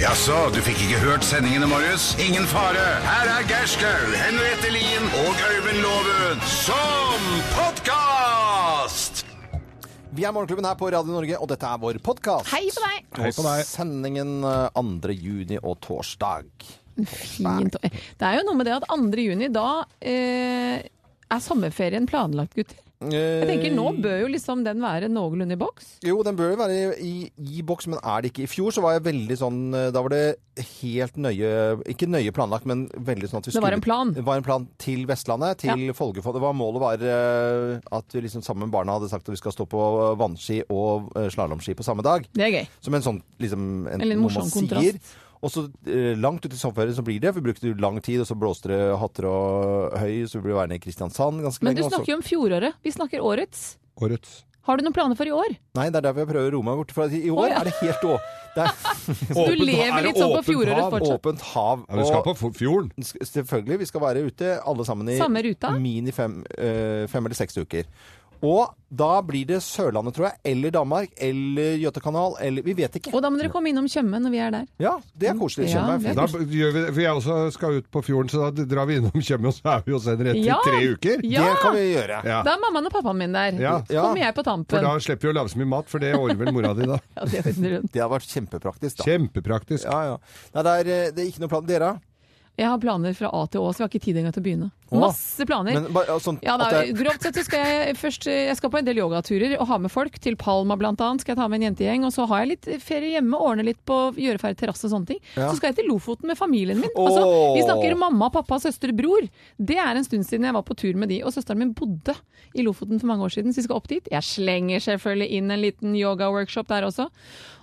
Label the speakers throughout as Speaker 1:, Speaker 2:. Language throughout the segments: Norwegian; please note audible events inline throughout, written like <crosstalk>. Speaker 1: Jaså, du fikk ikke hørt sendingene, Marius? Ingen fare. Her er Gerskaug, Henriette Lien og Øyvind Låven som podkast!
Speaker 2: Vi er Morgenklubben her på Radio Norge, og dette er vår podkast.
Speaker 3: Hei på deg!
Speaker 2: Hei på deg. Sendingen eh, 2. juni og torsdag.
Speaker 3: Fint. Eh, Det er jo noe med det at 2. juni, da eh, er sommerferien planlagt, gutter. Jeg tenker Nå bør jo liksom den være noenlunde i boks.
Speaker 2: Eh, Jo, den bør jo være i, i, i boks, men er det ikke. I fjor så var jeg veldig sånn eh, Da var det helt nøye Ikke nøye planlagt, men veldig sånn at vi
Speaker 3: Det var en plan.
Speaker 2: Det var en plan til Vestlandet, til Folgefoss. Det var målet var eh, at vi liksom sammen med barna hadde sagt at vi skal stå på vannski og eh, slalåmski på samme dag.
Speaker 3: Det er gøy.
Speaker 2: Som en sånn liksom, en,
Speaker 3: En litt
Speaker 2: noe
Speaker 3: morsom
Speaker 2: man
Speaker 3: kontrast.
Speaker 2: sier. Og så eh, langt ut i sommerferien så blir det, for vi brukte jo lang tid, og så blåste det hatter og høy, så vi ble værende i Kristiansand ganske
Speaker 3: Men du
Speaker 2: lenge. og så-
Speaker 3: snakker jo om fjoråret. Vi snakker årets.
Speaker 4: Årets.
Speaker 3: Har du noen planer for i år?
Speaker 2: Nei, det er derfor jeg prøver å roe meg bort. For i år
Speaker 3: Å, ja.
Speaker 2: er det helt å... Det
Speaker 3: <laughs>
Speaker 2: er
Speaker 3: Du lever litt sånn på fjoråret
Speaker 2: hav,
Speaker 3: fortsatt.
Speaker 2: åpent hav.
Speaker 4: Ja, vi skal på f- fjorden.
Speaker 2: s- selvfølgelig, vi skal være ute alle sammen i
Speaker 3: Samme ruta?
Speaker 2: mini fem, eh, fem eller seks uker. Og da blir det Sørlandet, tror jeg, eller Danmark, eller Gjøtekanal, eller Vi vet ikke.
Speaker 3: Og da må dere komme innom Tjøme når vi er der.
Speaker 2: Ja, det er koselig.
Speaker 3: Ja,
Speaker 2: Kjønner
Speaker 3: det er
Speaker 2: jeg.
Speaker 4: Da b- gjør vi, for jeg også skal ut på fjorden, så da drar vi innom Tjøme, og så er vi hos Henriette
Speaker 3: Ja!
Speaker 4: i tre uker.
Speaker 3: Ja!
Speaker 2: Det kan vi gjøre.
Speaker 4: Ja.
Speaker 3: Da er mammaen og pappaen min der.
Speaker 4: Ja.
Speaker 3: Så kommer jeg på
Speaker 4: For
Speaker 3: tampen.
Speaker 4: da slipper vi å lage så mye mat, for det ordner vel mora
Speaker 3: <laughs>
Speaker 4: di da.
Speaker 3: Ja, det ordner hun.
Speaker 2: Det har vært kjempepraktisk, da.
Speaker 4: Kjempepraktisk.
Speaker 2: Ja, ja. Nei, det er, eh, det er ikke noe plan. Dere?
Speaker 3: Jeg har planer fra A til Å, så vi har ikke tid engang til å begynne.
Speaker 2: Å.
Speaker 3: Masse planer.
Speaker 2: Men bare, ja, sånn,
Speaker 3: Ja, da,
Speaker 2: at det er,
Speaker 3: grovt sett så skal jeg først eh, Jeg skal på en del yogaturer og ha med folk. Til Palma blant annet skal jeg ta med en jentegjeng. Og så har jeg litt ferie hjemme, ordne litt på gjøre ferdig terrasse og sånne ting.
Speaker 2: Ja.
Speaker 3: Så skal jeg til Lofoten med familien min.
Speaker 2: Åh.
Speaker 3: Altså, vi snakker mamma, pappa, søster, bror. Det er en stund siden jeg var på tur med de. Og søsteren min bodde i Lofoten for mange år siden, så vi skal opp dit. Jeg slenger selvfølgelig inn en liten yoga-workshop der også.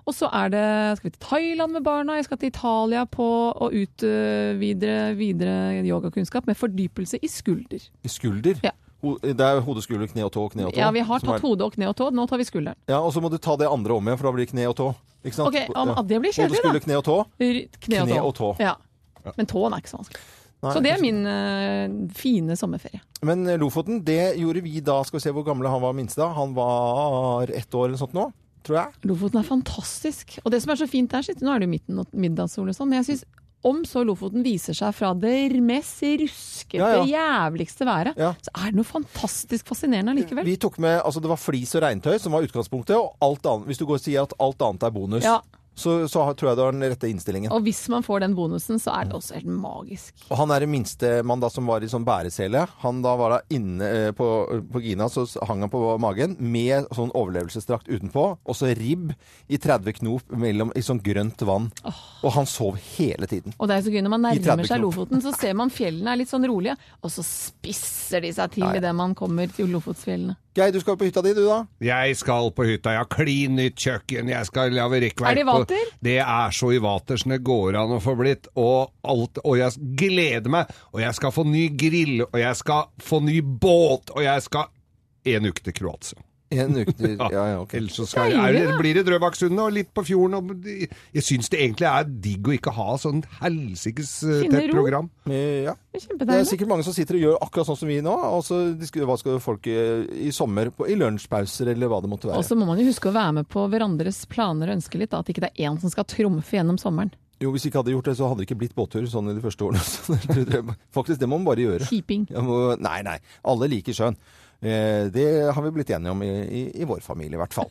Speaker 3: Og så er det, skal vi til Thailand med barna, jeg skal til Italia på å utvide videre yogakunnskap med fordypelse i skulder.
Speaker 2: skulder.
Speaker 3: Ja.
Speaker 2: Ho, det er hode, skulder, kne og tå, kne og tå.
Speaker 3: Ja, vi har
Speaker 2: som
Speaker 3: tatt
Speaker 2: er-
Speaker 3: hode og kne og tå. Nå tar vi skulderen.
Speaker 2: Ja, og så må du ta det andre om igjen, for da blir det kne og tå. Ikke sant?
Speaker 3: Ok, om,
Speaker 2: Ja.
Speaker 3: Det blir
Speaker 2: Hode,
Speaker 3: kjedelig,
Speaker 2: skulder, kne og tå.
Speaker 3: da. R- Kne og tå.
Speaker 2: Kne og tå.
Speaker 3: Ja. Men tåen er ikke så vanskelig.
Speaker 2: Nei,
Speaker 3: Så det er min eh, fine sommerferie.
Speaker 2: Men eh, Lofoten, det gjorde vi da. Skal vi se hvor gamle han var minst da. Han var ett år eller sånt nå, tror jeg.
Speaker 3: Lofoten er fantastisk. Og det som er så fint der, sitt, nå er det jo midten og middagssol og sånn, men jeg syns om så Lofoten viser seg fra det mest ruskete,
Speaker 2: Ja,
Speaker 3: jævligste været,
Speaker 2: Ja.
Speaker 3: så er det noe fantastisk fascinerende allikevel.
Speaker 2: Vi tok med, altså Det var flis og regntøy som var utgangspunktet, og alt annet, hvis du går og sier at alt annet er bonus,
Speaker 3: Ja.
Speaker 2: så, så har- tror jeg du har den rette innstillingen.
Speaker 3: Og hvis man får den bonusen, så er det også helt magisk.
Speaker 2: Og han er den minste mann da som var i sånn bæresele. Han da var da inne eh, på, på Gina, så hang han på magen med sånn overlevelsesdrakt utenpå, og så ribb i 30 knop mellom, i sånn grønt vann. Og han sov hele tiden.
Speaker 3: Og det er så gøy når man
Speaker 2: I 30
Speaker 3: nærmer seg
Speaker 2: knop.
Speaker 3: Lofoten, så ser man fjellene er litt sånn rolige, og så spisser de seg til
Speaker 2: Ja, ja.
Speaker 3: idet man kommer til Lofotsfjellene.
Speaker 2: Geir, du skal på hytta di, du da?
Speaker 4: Jeg skal på hytta, jeg har klin nytt kjøkken, jeg skal lage rekkverk.
Speaker 3: Er det i
Speaker 4: på-
Speaker 3: vater?
Speaker 4: Det er så i vater som det går an å få blitt, og alt, og jeg gleder meg, og jeg skal få ny grill, og jeg skal få ny båt, og jeg skal en uke til Kroatia.
Speaker 2: En uke til Ja, ja, ok.
Speaker 4: Ellers så skal, er, det- blir det Drøbaksundet og litt på fjorden. Og, jeg syns det egentlig er digg å ikke ha sånn helsikes eh,
Speaker 3: Finne
Speaker 4: tett
Speaker 3: ro.
Speaker 4: program.
Speaker 2: Eh, Ja.
Speaker 3: Det er
Speaker 2: Det er
Speaker 3: Kjempedeilig.
Speaker 2: sikkert mange som sitter og gjør akkurat sånn som vi nå. Og så diskuterer hva skal folk eh, i sommer, på, i lunsjpauser eller hva det måtte
Speaker 3: Og
Speaker 2: være.
Speaker 3: så må man jo huske å være med på hverandres planer og ønsker litt, da, at ikke det er én som skal trumfe gjennom sommeren.
Speaker 2: Jo, hvis vi ikke hadde gjort det, så hadde det ikke blitt båttur sånn i de første årene. <laughs> Så det- det- Faktisk, det må man bare gjøre.
Speaker 3: Keeping.
Speaker 2: Ja, må- Nei, nei. Alle liker sjøen. Eh, Det har vi blitt enige om i, i, i vår familie, i hvert
Speaker 3: <laughs>
Speaker 2: fall.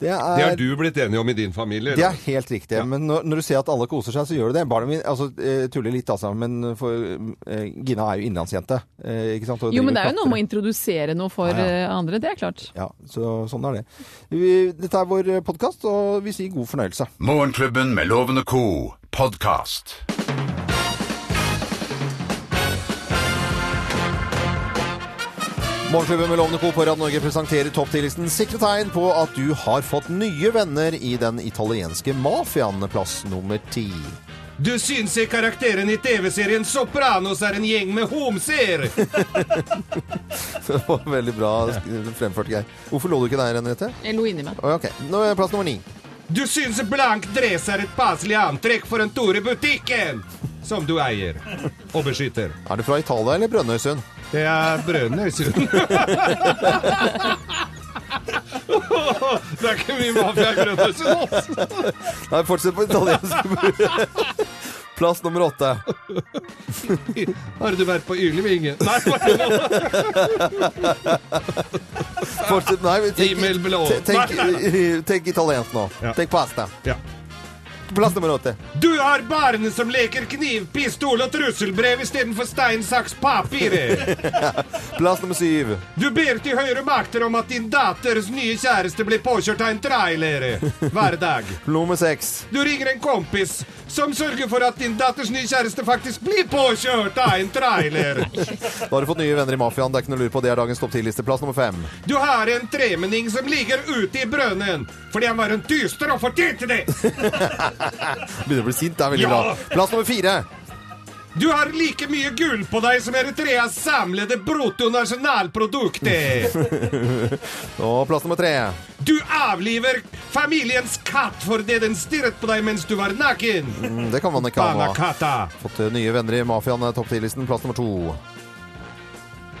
Speaker 2: Det er,
Speaker 4: Det er du blitt enig om i din familie.
Speaker 2: det er helt riktig. Men når, når du ser at alle koser seg, så gjør du det. Barna mine altså, eh, tuller litt, altså. Men for, eh, Gina er jo innlandsjente. eh, Ikke sant? Og
Speaker 3: Jo, men det
Speaker 2: driver
Speaker 3: er jo noe
Speaker 2: klatrer.
Speaker 3: med å introdusere noe for eh, andre, det er klart.
Speaker 2: Ja, så, sånn er det. Vi, dette er vår podkast, og vi sier god fornøyelse.
Speaker 1: Morgenklubben med Loven og co. podkast.
Speaker 2: Morgenklubben med Lovende Co. på Radio Norge presenterer topptillitsen sikre tegn på at du har fått nye venner i den italienske mafiaen, plass nummer ti. <laughs>
Speaker 4: Du syns i karakteren i TV-serien Sopranos er en gjeng med homser!
Speaker 2: Det var Veldig bra sk- fremført, Geir. Hvorfor lå du ikke der, Henriette?
Speaker 3: Jeg lo inni meg.
Speaker 2: Å, ja, Ok, Nå er plass nummer ni.
Speaker 4: Du syns blank dress er et passelig antrekk for en tur i butikken! Som du eier og beskytter.
Speaker 2: Er du fra Italia eller
Speaker 4: <laughs>
Speaker 2: Brønnøysund?
Speaker 4: Det er Brønnøysund. Det er ikke mye mafia i Brønnøysund, altså!
Speaker 2: <laughs> Nei, fortsett på italiensk. <laughs> Plass nummer åtte.
Speaker 4: Har du vært på Ylvinge? Nei, bare nå!
Speaker 2: Fortsett, nei, men tenk,
Speaker 4: Himmel blå.
Speaker 2: te- tenk,
Speaker 4: Nei,
Speaker 2: <laughs> tenk italiensk nå.
Speaker 4: Ja.
Speaker 2: Tenk pasta.
Speaker 4: Ja.
Speaker 2: Plass nummer åtte.
Speaker 4: Du har barn som leker kniv, pistol og trusselbrev istedenfor stein, saks, papir.
Speaker 2: Plass nummer syv.
Speaker 4: Du ber til høyere makter om at din datters nye kjæreste blir påkjørt av en trailer hver dag.
Speaker 2: Nummer seks.
Speaker 4: Du ringer en kompis som sørger for at din datters nye kjæreste faktisk blir påkjørt av en trailer.
Speaker 2: Da har du fått nye venner i mafiaen. Det er ikke noe å lure på. Det er dagens topp 10-liste. Plass nummer fem.
Speaker 4: Du har en tremenning som ligger ute i brønnen fordi han var en dyster og fortjente det.
Speaker 2: Begynner å bli sint. Det er veldig
Speaker 4: Ja.
Speaker 2: bra. Plass nummer fire.
Speaker 4: Du har like mye gull på deg som Eritreas samlede bruttonasjonalprodukt.
Speaker 2: Og plass nummer tre.
Speaker 4: Du avliver familiens katt fordi den stirret på deg mens du var naken.
Speaker 2: Mm, Det kan man ikke ha nå.
Speaker 4: Banakatta.
Speaker 2: Fått eh, nye venner i mafiaen. eh, Topp 10-listen. Plass nummer to.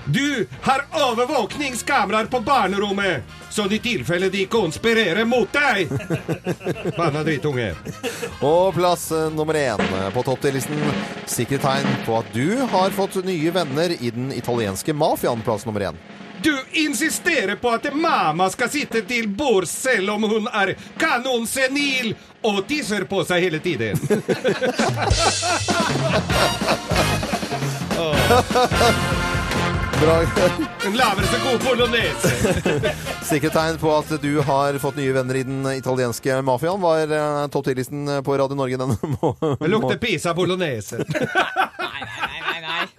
Speaker 4: Du har overvåkningskameraer på barnerommet, sånn i tilfelle de konspirerer mot deg. Banna drittunge.
Speaker 2: Og plass eh, nummer én på topp 10-listen. Sikkert tegn på at du har fått nye venner i den italienske mafiaen. Plass nummer én.
Speaker 4: Du insisterer på at mamma skal sitte til bords selv om hun er kanonsenil og tisser på seg hele tiden.
Speaker 2: Bra. <laughs>
Speaker 4: En lavere så god polonese.
Speaker 2: Sikkert tegn på at du har fått nye venner i den italienske mafiaen, var eh, topp 10-listen på Radio Norge denne <laughs> må-
Speaker 4: Det lukter
Speaker 2: må-
Speaker 4: pisa bolognese.
Speaker 3: Nei, nei, nei, nei.
Speaker 4: Nei,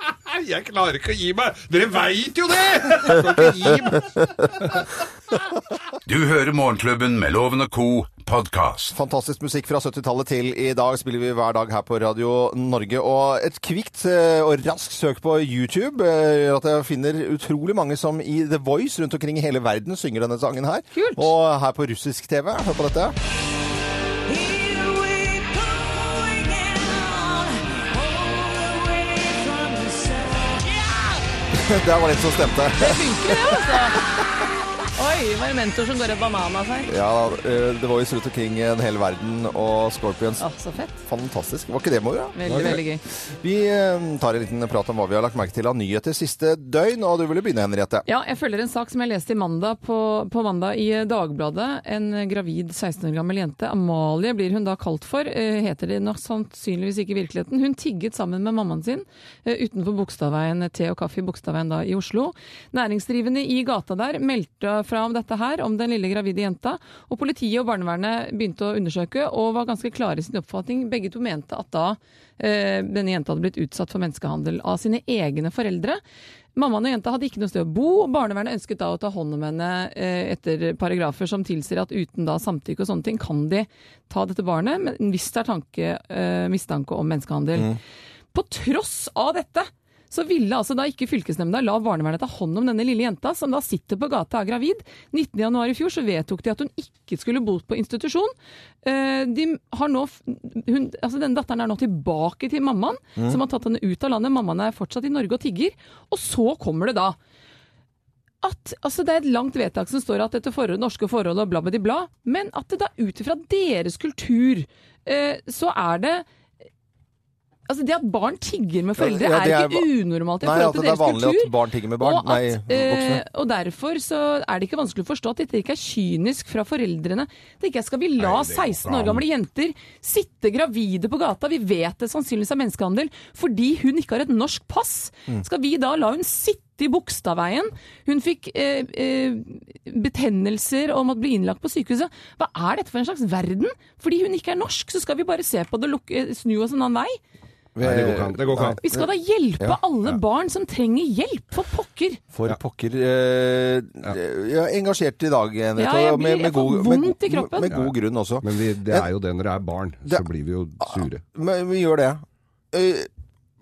Speaker 4: <laughs> Jeg klarer ikke å gi meg! Dere veit jo det! <laughs> Jeg kan ikke gi meg.
Speaker 1: Du hører Morgenklubben med Loven og Co. podkast.
Speaker 2: Fantastisk musikk fra 70-tallet til i dag spiller vi hver dag her på Radio Norge. Og et kvikt eh, og raskt søk på YouTube eh, gjør at jeg finner utrolig mange som i The Voice rundt omkring i hele verden synger denne sangen her.
Speaker 3: Kult.
Speaker 2: Og her på russisk TV. Hør på dette. <laughs>
Speaker 5: Here we go again on, all the way from the sun.
Speaker 2: Der var det en som
Speaker 3: <laughs>
Speaker 2: stemte.
Speaker 3: Funker det, altså? Oi, var det mentor som går i bananas her?
Speaker 2: Ja, eh, The Voice rundt omkring i hele verden og Scorpions.
Speaker 3: Å, så fett.
Speaker 2: Fantastisk. Var ikke det moro? da?
Speaker 3: Veldig, veldig gøy.
Speaker 2: Vi eh, tar en liten prat om hva vi har lagt merke til av nyheter siste døgn, og du ville begynne, Henriette.
Speaker 3: Ja, jeg følger en sak som jeg leste i mandag på, på mandag i eh, Dagbladet. En eh, gravid 16 år gammel jente, Amalie blir hun da kalt for, eh, heter det nok sannsynligvis ikke i virkeligheten. Hun tigget sammen med mammaen sin eh, utenfor Bogstadveien, eh, te og kaffe i Bogstadveien da i Oslo. Næringsdrivende i gata der meldte fra om dette her, om den lille gravide jenta, og politiet og barnevernet begynte å undersøke og var ganske klare i sin oppfatning. Begge to mente at da eh, denne jenta hadde blitt utsatt for menneskehandel av sine egne foreldre. Mammaen og jenta hadde ikke noe sted å bo. Barnevernet ønsket da å ta hånd om henne eh, etter paragrafer som tilsier at uten da samtykke og sånne ting, kan de ta dette barnet, men hvis det er tanke, eh, mistanke om menneskehandel. På tross av dette så ville altså da ikke fylkesnemnda la barnevernet ta hånd om denne lille jenta, som da sitter på gata og er gravid. 19.1 i fjor så vedtok de at hun ikke skulle bo på institusjon. Eh, De har nå, f- hun, altså denne datteren er nå tilbake til mammaen, som har tatt henne ut av landet. Mammaen er fortsatt i Norge og tigger. Og så kommer det da at altså Det er et langt vedtak som står at etter forhold, norske forhold og bla, bla, bla, men at det da ut ifra deres kultur, eh, så er det Altså Det at barn tigger med foreldre,
Speaker 2: Ja, det
Speaker 3: er,
Speaker 2: er
Speaker 3: ikke unormalt i
Speaker 2: Nei, at
Speaker 3: forhold til
Speaker 2: det er
Speaker 3: deres
Speaker 2: vanlig
Speaker 3: kultur.
Speaker 2: at barn tigger med barn.
Speaker 3: Og, at,
Speaker 2: Nei, voksne.
Speaker 3: eh, og derfor så er det ikke vanskelig å forstå at dette ikke er kynisk fra foreldrene. Det ikke skal vi la 16 år gamle jenter sitte gravide på gata, vi vet det sannsynligvis er menneskehandel, fordi hun ikke har et norsk pass.
Speaker 2: Mm.
Speaker 3: Skal vi da la hun sitte i Bogstadveien. Hun fikk eh, eh, betennelser og måtte bli innlagt på sykehuset. Hva er dette for en slags verden? Fordi hun ikke er norsk, så skal vi bare se på det og lukke- snu oss en annen vei?
Speaker 4: Nei,
Speaker 2: Eh,
Speaker 4: det går ikke an. Det går ikke an.
Speaker 3: Vi skal da hjelpe
Speaker 2: Ja.
Speaker 3: alle barn som trenger hjelp, for pokker!
Speaker 2: For pokker eh, Jeg er engasjert i dag, Henriette.
Speaker 3: Ja, jeg
Speaker 2: og med,
Speaker 3: blir-
Speaker 2: med
Speaker 3: jeg får
Speaker 2: god, med,
Speaker 3: vondt i
Speaker 2: Med,
Speaker 3: kroppen.
Speaker 2: med god grunn også.
Speaker 4: Men vi, det er jo det når det er barn. Så
Speaker 2: Det-
Speaker 4: blir vi jo sure.
Speaker 2: Men vi gjør det. Eh,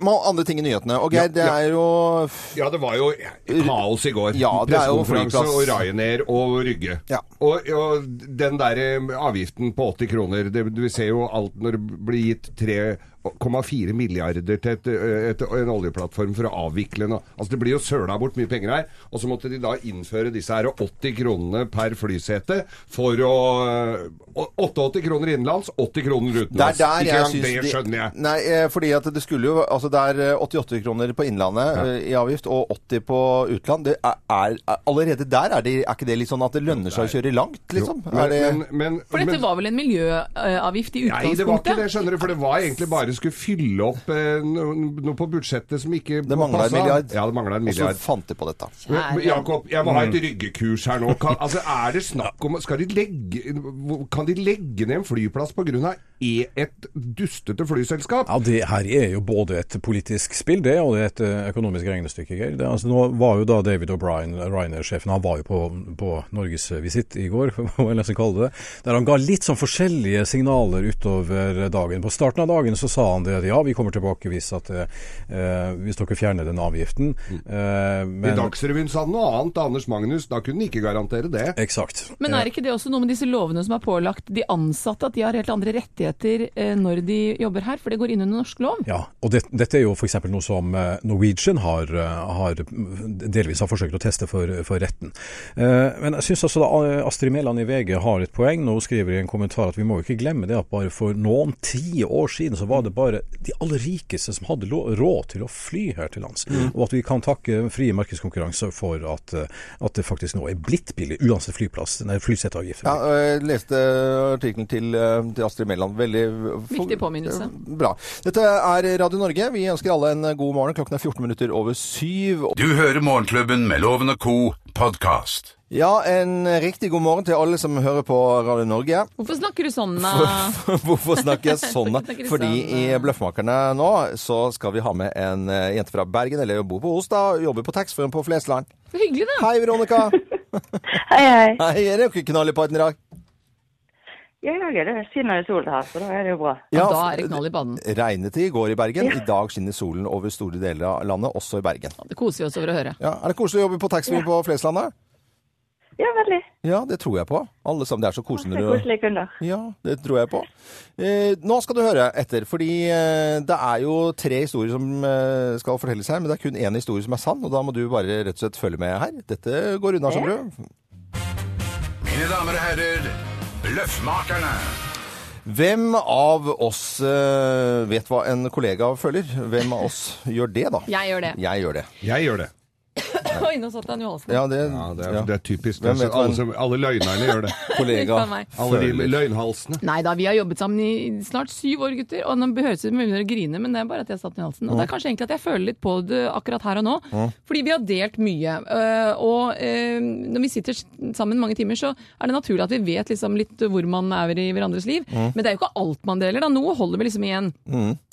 Speaker 2: må andre ting i nyhetene. Og Geir,
Speaker 4: Ja,
Speaker 2: det
Speaker 4: ja.
Speaker 2: er jo
Speaker 4: Ja, det var jo kaos i går.
Speaker 2: Ja, det er jo
Speaker 4: Pressekonferanse og
Speaker 2: flyplass.
Speaker 4: Ryanair og Rygge.
Speaker 2: Ja.
Speaker 4: Og, og den der eh, avgiften på 80 kroner det, Du ser jo alt når det blir gitt tre 1,4 milliarder til et, eh, et, en oljeplattform for å avvikle nå. Altså Det blir jo søla bort mye penger her. Og så måtte de da innføre disse her 80 kronene per flysete for å å- 88 kroner innenlands, 80 kroner
Speaker 2: Det er
Speaker 4: utenlands.
Speaker 2: der
Speaker 4: Ikke
Speaker 2: jeg
Speaker 4: engang
Speaker 2: syns
Speaker 4: det
Speaker 2: de-
Speaker 4: skjønner jeg.
Speaker 2: Nei, eh, fordi at det skulle jo Altså det er eh, 88 kroner på Innlandet eh, i avgift og 80 på utland. Det er, er, er- allerede der er, det, er ikke det litt sånn at det lønner seg å kjøre langt, liksom?
Speaker 4: Men,
Speaker 2: Er det,
Speaker 4: men, men,
Speaker 3: For dette
Speaker 4: men-
Speaker 3: var vel en miljøavgift i
Speaker 4: Nei, det var ikke det,
Speaker 3: utgangspunktet?
Speaker 4: skjønner du. For det var egentlig bare skulle fylle opp eh, no- noe på budsjettet som ikke
Speaker 2: det mangla en
Speaker 4: passet.
Speaker 2: milliard.
Speaker 4: altså, Ja, det mangla
Speaker 2: Og
Speaker 4: en
Speaker 2: så
Speaker 4: milliard.
Speaker 2: fant de på dette.
Speaker 4: Men, men Jakob, jeg må ha et ryggekurs her nå. Kan, altså, er det snakk om skal de legge, hvor- Kan de legge ned en flyplass pga. E, et dustete flyselskap?
Speaker 6: Ja, Det her er jo både et politisk spill det, og det er et eh, økonomisk regnestykke. Geir. Det, altså, nå var jo da David O'Brien, Ryanair-sjefen, han var jo på, på norgesvisitt i går, <laughs> hva jeg nesten kalle det, der han ga litt sånn forskjellige signaler utover eh, dagen. På starten av dagen så sa han det at ja, vi kommer tilbake hvis, at, eh, eh, hvis dere fjerner den avgiften. Eh,
Speaker 4: I
Speaker 6: men,
Speaker 4: Dagsrevyen sa han noe annet, Anders Magnus. Da kunne han ikke garantere det.
Speaker 6: Eksakt.
Speaker 3: Men er ikke det også noe med disse lovene som er pålagt de ansatte, at de har helt andre rettigheter eh, når de jobber her, for det går inn under norsk lov?
Speaker 6: Ja, og det, dette er jo f.eks. noe som eh, Norwegian har, eh, har delvis har forsøkt å teste for, for retten. Eh, Men jeg syns altså da eh, Astrid Mæland i VG har et poeng når hun skriver i en kommentar at vi må jo ikke glemme det at bare for noen tiår siden så var det bare de aller rikeste som hadde lo- råd til å fly her til lands. Og at vi kan takke frie markedskonkurranser for at, eh, at det faktisk nå er blitt billig, uansett flyplass, nei, flyseteavgift.
Speaker 2: Ja, og jeg leste artikkelen til, eh, til Astrid Mæland. Veldig
Speaker 3: Viktig påminnelse.
Speaker 2: Bra. Dette er Radio Norge. Vi ønsker alle en god morgen. Klokken er 14 minutter over syv.
Speaker 1: Du hører Morgenklubben med Loven og Co. podkast.
Speaker 2: Ja, en riktig god morgen til alle som hører på Radio Norge. <laughs>
Speaker 3: Hvorfor snakker du sånn? da?
Speaker 2: Hvorfor snakker jeg
Speaker 3: <laughs>
Speaker 2: sånn? da?
Speaker 3: Snakker du
Speaker 2: Fordi i
Speaker 3: sånn, da?
Speaker 2: Bløffmakerne nå så skal vi ha med en eh, jente fra Bergen, eller bor på Ostad, jobber på taxfree på Flesland.
Speaker 3: Så hyggelig, da.
Speaker 2: Hei,
Speaker 3: <laughs>
Speaker 2: Veronica!
Speaker 7: Hei, hei.
Speaker 2: Hei, er det jo ikke knall i patten i dag?
Speaker 7: Jeg lager det. Skinner det sol her, så da er det jo bra.
Speaker 3: Ja, da er det knall i banen.
Speaker 2: Regnet i går i Bergen. I dag skinner solen over store deler av landet, også i Bergen.
Speaker 3: Det koser vi oss over å høre.
Speaker 2: Ja, Er det koselig å jobbe på taxfree på Fleslandet?
Speaker 7: Ja, veldig.
Speaker 2: Ja, det tror jeg på. Alle sammen, Det er så koselig
Speaker 7: Det
Speaker 2: når
Speaker 7: er
Speaker 2: du
Speaker 7: koselige kunder.
Speaker 2: Ja, det tror jeg på. Eh, nå skal du høre etter, fordi eh, det er jo tre historier som eh, skal fortelles her, men det er kun én historie som er sann, og da må du bare rett og slett følge med her. Dette går unna, skjønner du.
Speaker 1: Mine damer og herrer, Bløffmakerne.
Speaker 2: Hvem av oss eh, vet hva en kollega føler? Hvem av oss gjør det, da?
Speaker 3: Jeg gjør det.
Speaker 2: Jeg gjør det.
Speaker 4: Jeg gjør det.
Speaker 3: Oi, nå satt den i halsen.
Speaker 2: Ja, det,
Speaker 4: Ja, det, er,
Speaker 2: ja.
Speaker 4: det er typisk.
Speaker 2: Hvem vet hva
Speaker 4: alle,
Speaker 2: en-
Speaker 4: som, alle løgnerne gjør
Speaker 2: <laughs>
Speaker 4: det.
Speaker 2: kollega
Speaker 3: <laughs> Ikke meg.
Speaker 4: Alle de
Speaker 2: føler.
Speaker 4: løgnhalsene.
Speaker 3: Nei da, vi har jobbet sammen i snart syv år, gutter. Og nå høres det ut som vi begynner å grine, men det er bare at jeg satt den i halsen. Og det er kanskje egentlig at jeg føler litt på det akkurat her og nå. Fordi vi har delt mye. øh, Og øh, når vi sitter sammen mange timer, så er det naturlig at vi vet liksom litt hvor man er i hverandres liv. Men det er jo ikke alt man deler, da. Noe holder vi liksom igjen.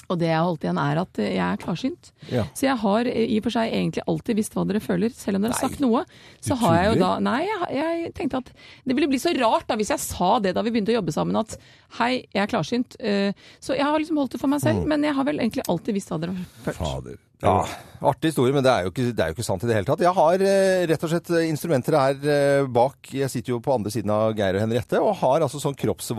Speaker 3: Og det jeg har holdt igjen, er at eh, jeg er klarsynt.
Speaker 2: Ja.
Speaker 3: Så jeg har eh, i og for seg egentlig alltid visst hva dere føler, selv om dere har sagt noe. Så har jeg jo da Nei, jeg, har- jeg tenkte at det ville bli så rart da hvis jeg sa det da vi begynte å jobbe sammen, at hei, jeg er klarsynt. Eh, Så jeg har liksom holdt det for meg
Speaker 2: Mm.
Speaker 3: selv, men jeg har vel egentlig alltid visst hva dere har følt.
Speaker 4: Fader.
Speaker 2: Ja, Artig historie, men det er, jo ikke, det er jo ikke sant i det hele tatt. Jeg har eh, rett og slett instrumenter her eh, bak. Jeg sitter jo på andre siden av Geir og Henriette, og har altså sånn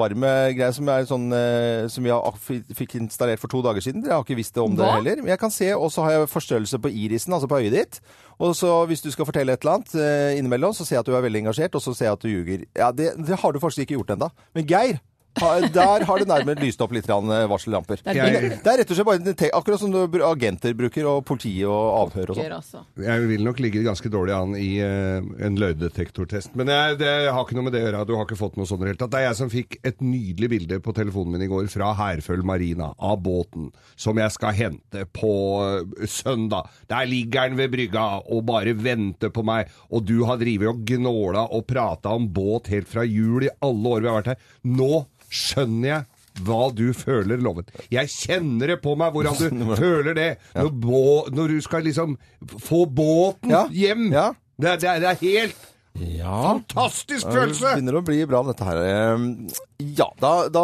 Speaker 2: kroppsvarmegreie som, er sånn, eh, som jeg ak- fi- fikk installert for to dager siden. Dere har ikke visst det om det
Speaker 3: Hva?
Speaker 2: heller. Men jeg kan se, og så har jeg forstørrelse på irisen, altså på øyet ditt. Og så hvis du skal fortelle et eller annet eh, innimellom, så ser jeg at du er veldig engasjert, og så ser jeg at du ljuger. Ja, det, det har du faktisk ikke gjort ennå. Men Geir, ha- der har det nærmere lyst opp litt grann, eh, varsellamper.
Speaker 3: Det
Speaker 4: Jeg-
Speaker 3: er
Speaker 2: Det det er rett og slett bare en te- akkurat som du, br- agenter bruker, og politi og avhør og
Speaker 3: dere,
Speaker 2: sånn.
Speaker 3: altså.
Speaker 4: Jeg vil nok ligge ganske dårlig an i eh, en løgndetektortest. Men jeg, det har ikke noe med det å gjøre. Du har ikke fått noe sånt i det hele tatt. Det er jeg som fikk et nydelig bilde på telefonen min i går fra Herføl Marina av båten som jeg skal hente på eh, søndag. Der ligger den ved brygga og bare venter på meg. Og du har drevet og gnåla og prata om båt helt fra jul i alle år vi har vært her. Nå skjønner jeg hva du føler, Loven. Jeg kjenner det på meg hvordan
Speaker 2: <laughs>
Speaker 4: du føler det når, bå, når du skal liksom få båten
Speaker 2: Ja.
Speaker 4: hjem.
Speaker 2: Ja.
Speaker 4: Det, er- det, er- det er helt fantastisk
Speaker 2: Det
Speaker 4: følelse! <laughs>
Speaker 2: begynner å bli bra, dette her. Ehm, Ja, da, da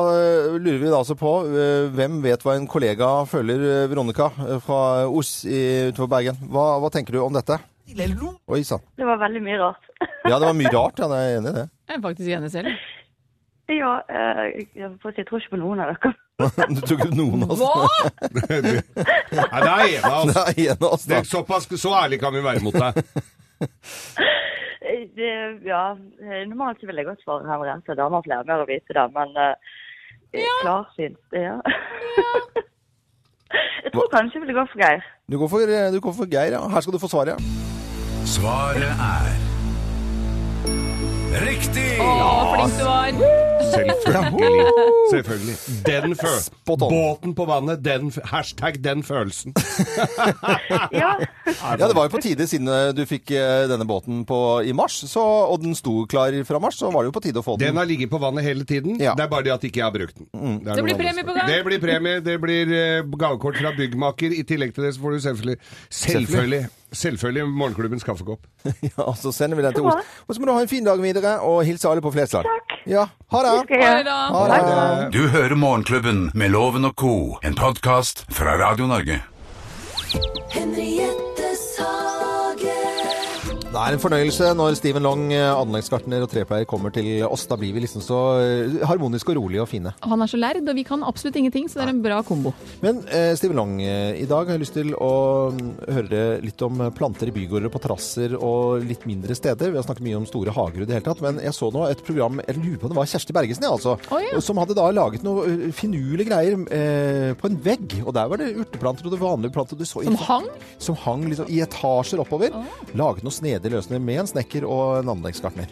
Speaker 2: lurer vi da altså på eh, hvem vet hva en kollega føler, eh, Veronica eh, fra Os i- utenfor Bergen. Hva, hva tenker du om dette? Oi sann.
Speaker 7: Det var veldig mye rart. <laughs>
Speaker 2: Ja, det var mye rart. Ja, jeg er enig i det.
Speaker 3: Jeg er faktisk enig selv.
Speaker 7: Ja, eh, jeg får si, jeg tror ikke på noen av dere. <laughs>
Speaker 2: Du tok ut noen av oss. <laughs>
Speaker 3: Hva?!
Speaker 4: Nei, det
Speaker 2: Det
Speaker 4: er en av oss.
Speaker 2: er en av oss,
Speaker 4: Det
Speaker 2: da.
Speaker 4: er såpass, så ærlig kan vi være mot
Speaker 2: <laughs>
Speaker 4: deg.
Speaker 7: Eh, Det, ja, eh, normalt så ville jeg godt svare henrente damer flere mer å vite det, men eh, klarsynt, ja. <laughs> jeg tror kanskje jeg ville gå for <laughs> Geir.
Speaker 2: Du går for, eh, du går for Geir, ja. Her skal du få svaret. ja.
Speaker 1: Svaret er Riktig!
Speaker 3: Å, flink du var!
Speaker 4: Selvfølgelig. Selvfølgelig. Den
Speaker 2: Spot
Speaker 4: følelsen.
Speaker 2: on.
Speaker 4: Båten på vannet, den, f- hashtag den følelsen.
Speaker 7: Ja,
Speaker 2: Ja, det var jo på tide siden eh, du fikk eh, denne båten på, i mars, så, og den sto klar fra mars, så var det jo på tide å få
Speaker 4: Den
Speaker 2: den.
Speaker 4: har ligget på vannet hele tiden.
Speaker 2: Ja. Mm.
Speaker 4: Det er bare det at ikke jeg har brukt den. Det, er
Speaker 3: Det
Speaker 4: noe
Speaker 3: blir
Speaker 4: annet.
Speaker 3: premie på gang.
Speaker 4: Det blir premie. Det blir eh, gavekort fra byggmaker. I tillegg til det så får du selvfølgelig Selvfølgelig. Selvfølgelig morgenklubbens kaffekopp.
Speaker 2: <laughs> Ja, så sender vi den til
Speaker 7: Så bra.
Speaker 2: Os. Og så må du ha en fin dag videre, og hilse alle på Flesland.
Speaker 7: Takk.
Speaker 2: Ja, ha det.
Speaker 7: det skal
Speaker 3: Ha
Speaker 7: jeg
Speaker 3: det da.
Speaker 7: gjøre.
Speaker 2: Ha det.
Speaker 1: Du hører Morgenklubben med Loven og Co., en podkast fra Radio Norge.
Speaker 8: Henriettes hage.
Speaker 2: Det er en fornøyelse når Steven Long, eh, anleggsgartner og trepleier kommer til oss. Da blir vi liksom så eh, harmoniske og rolige og fine.
Speaker 3: Han er så lærd, og vi kan absolutt ingenting, så det er en bra kombo.
Speaker 2: Men eh, Steven Long, eh, i dag har jeg lyst til å mm, høre litt om eh, planter i bygårder og på terrasser og litt mindre steder. Vi har snakket mye om store hager i det hele tatt, men jeg så nå et program, jeg lurer på om det var Kjersti Bergesen, ja, altså,
Speaker 3: Å, ja.
Speaker 2: som hadde da laget noe eh, finurlige greier eh, på en vegg. Og der var det urteplanter og det vanlige planter du så i
Speaker 3: Som hang?
Speaker 2: Som hang liksom i etasjer oppover. Laget noen snedige løsninger med en snekker og en anleggsgartner.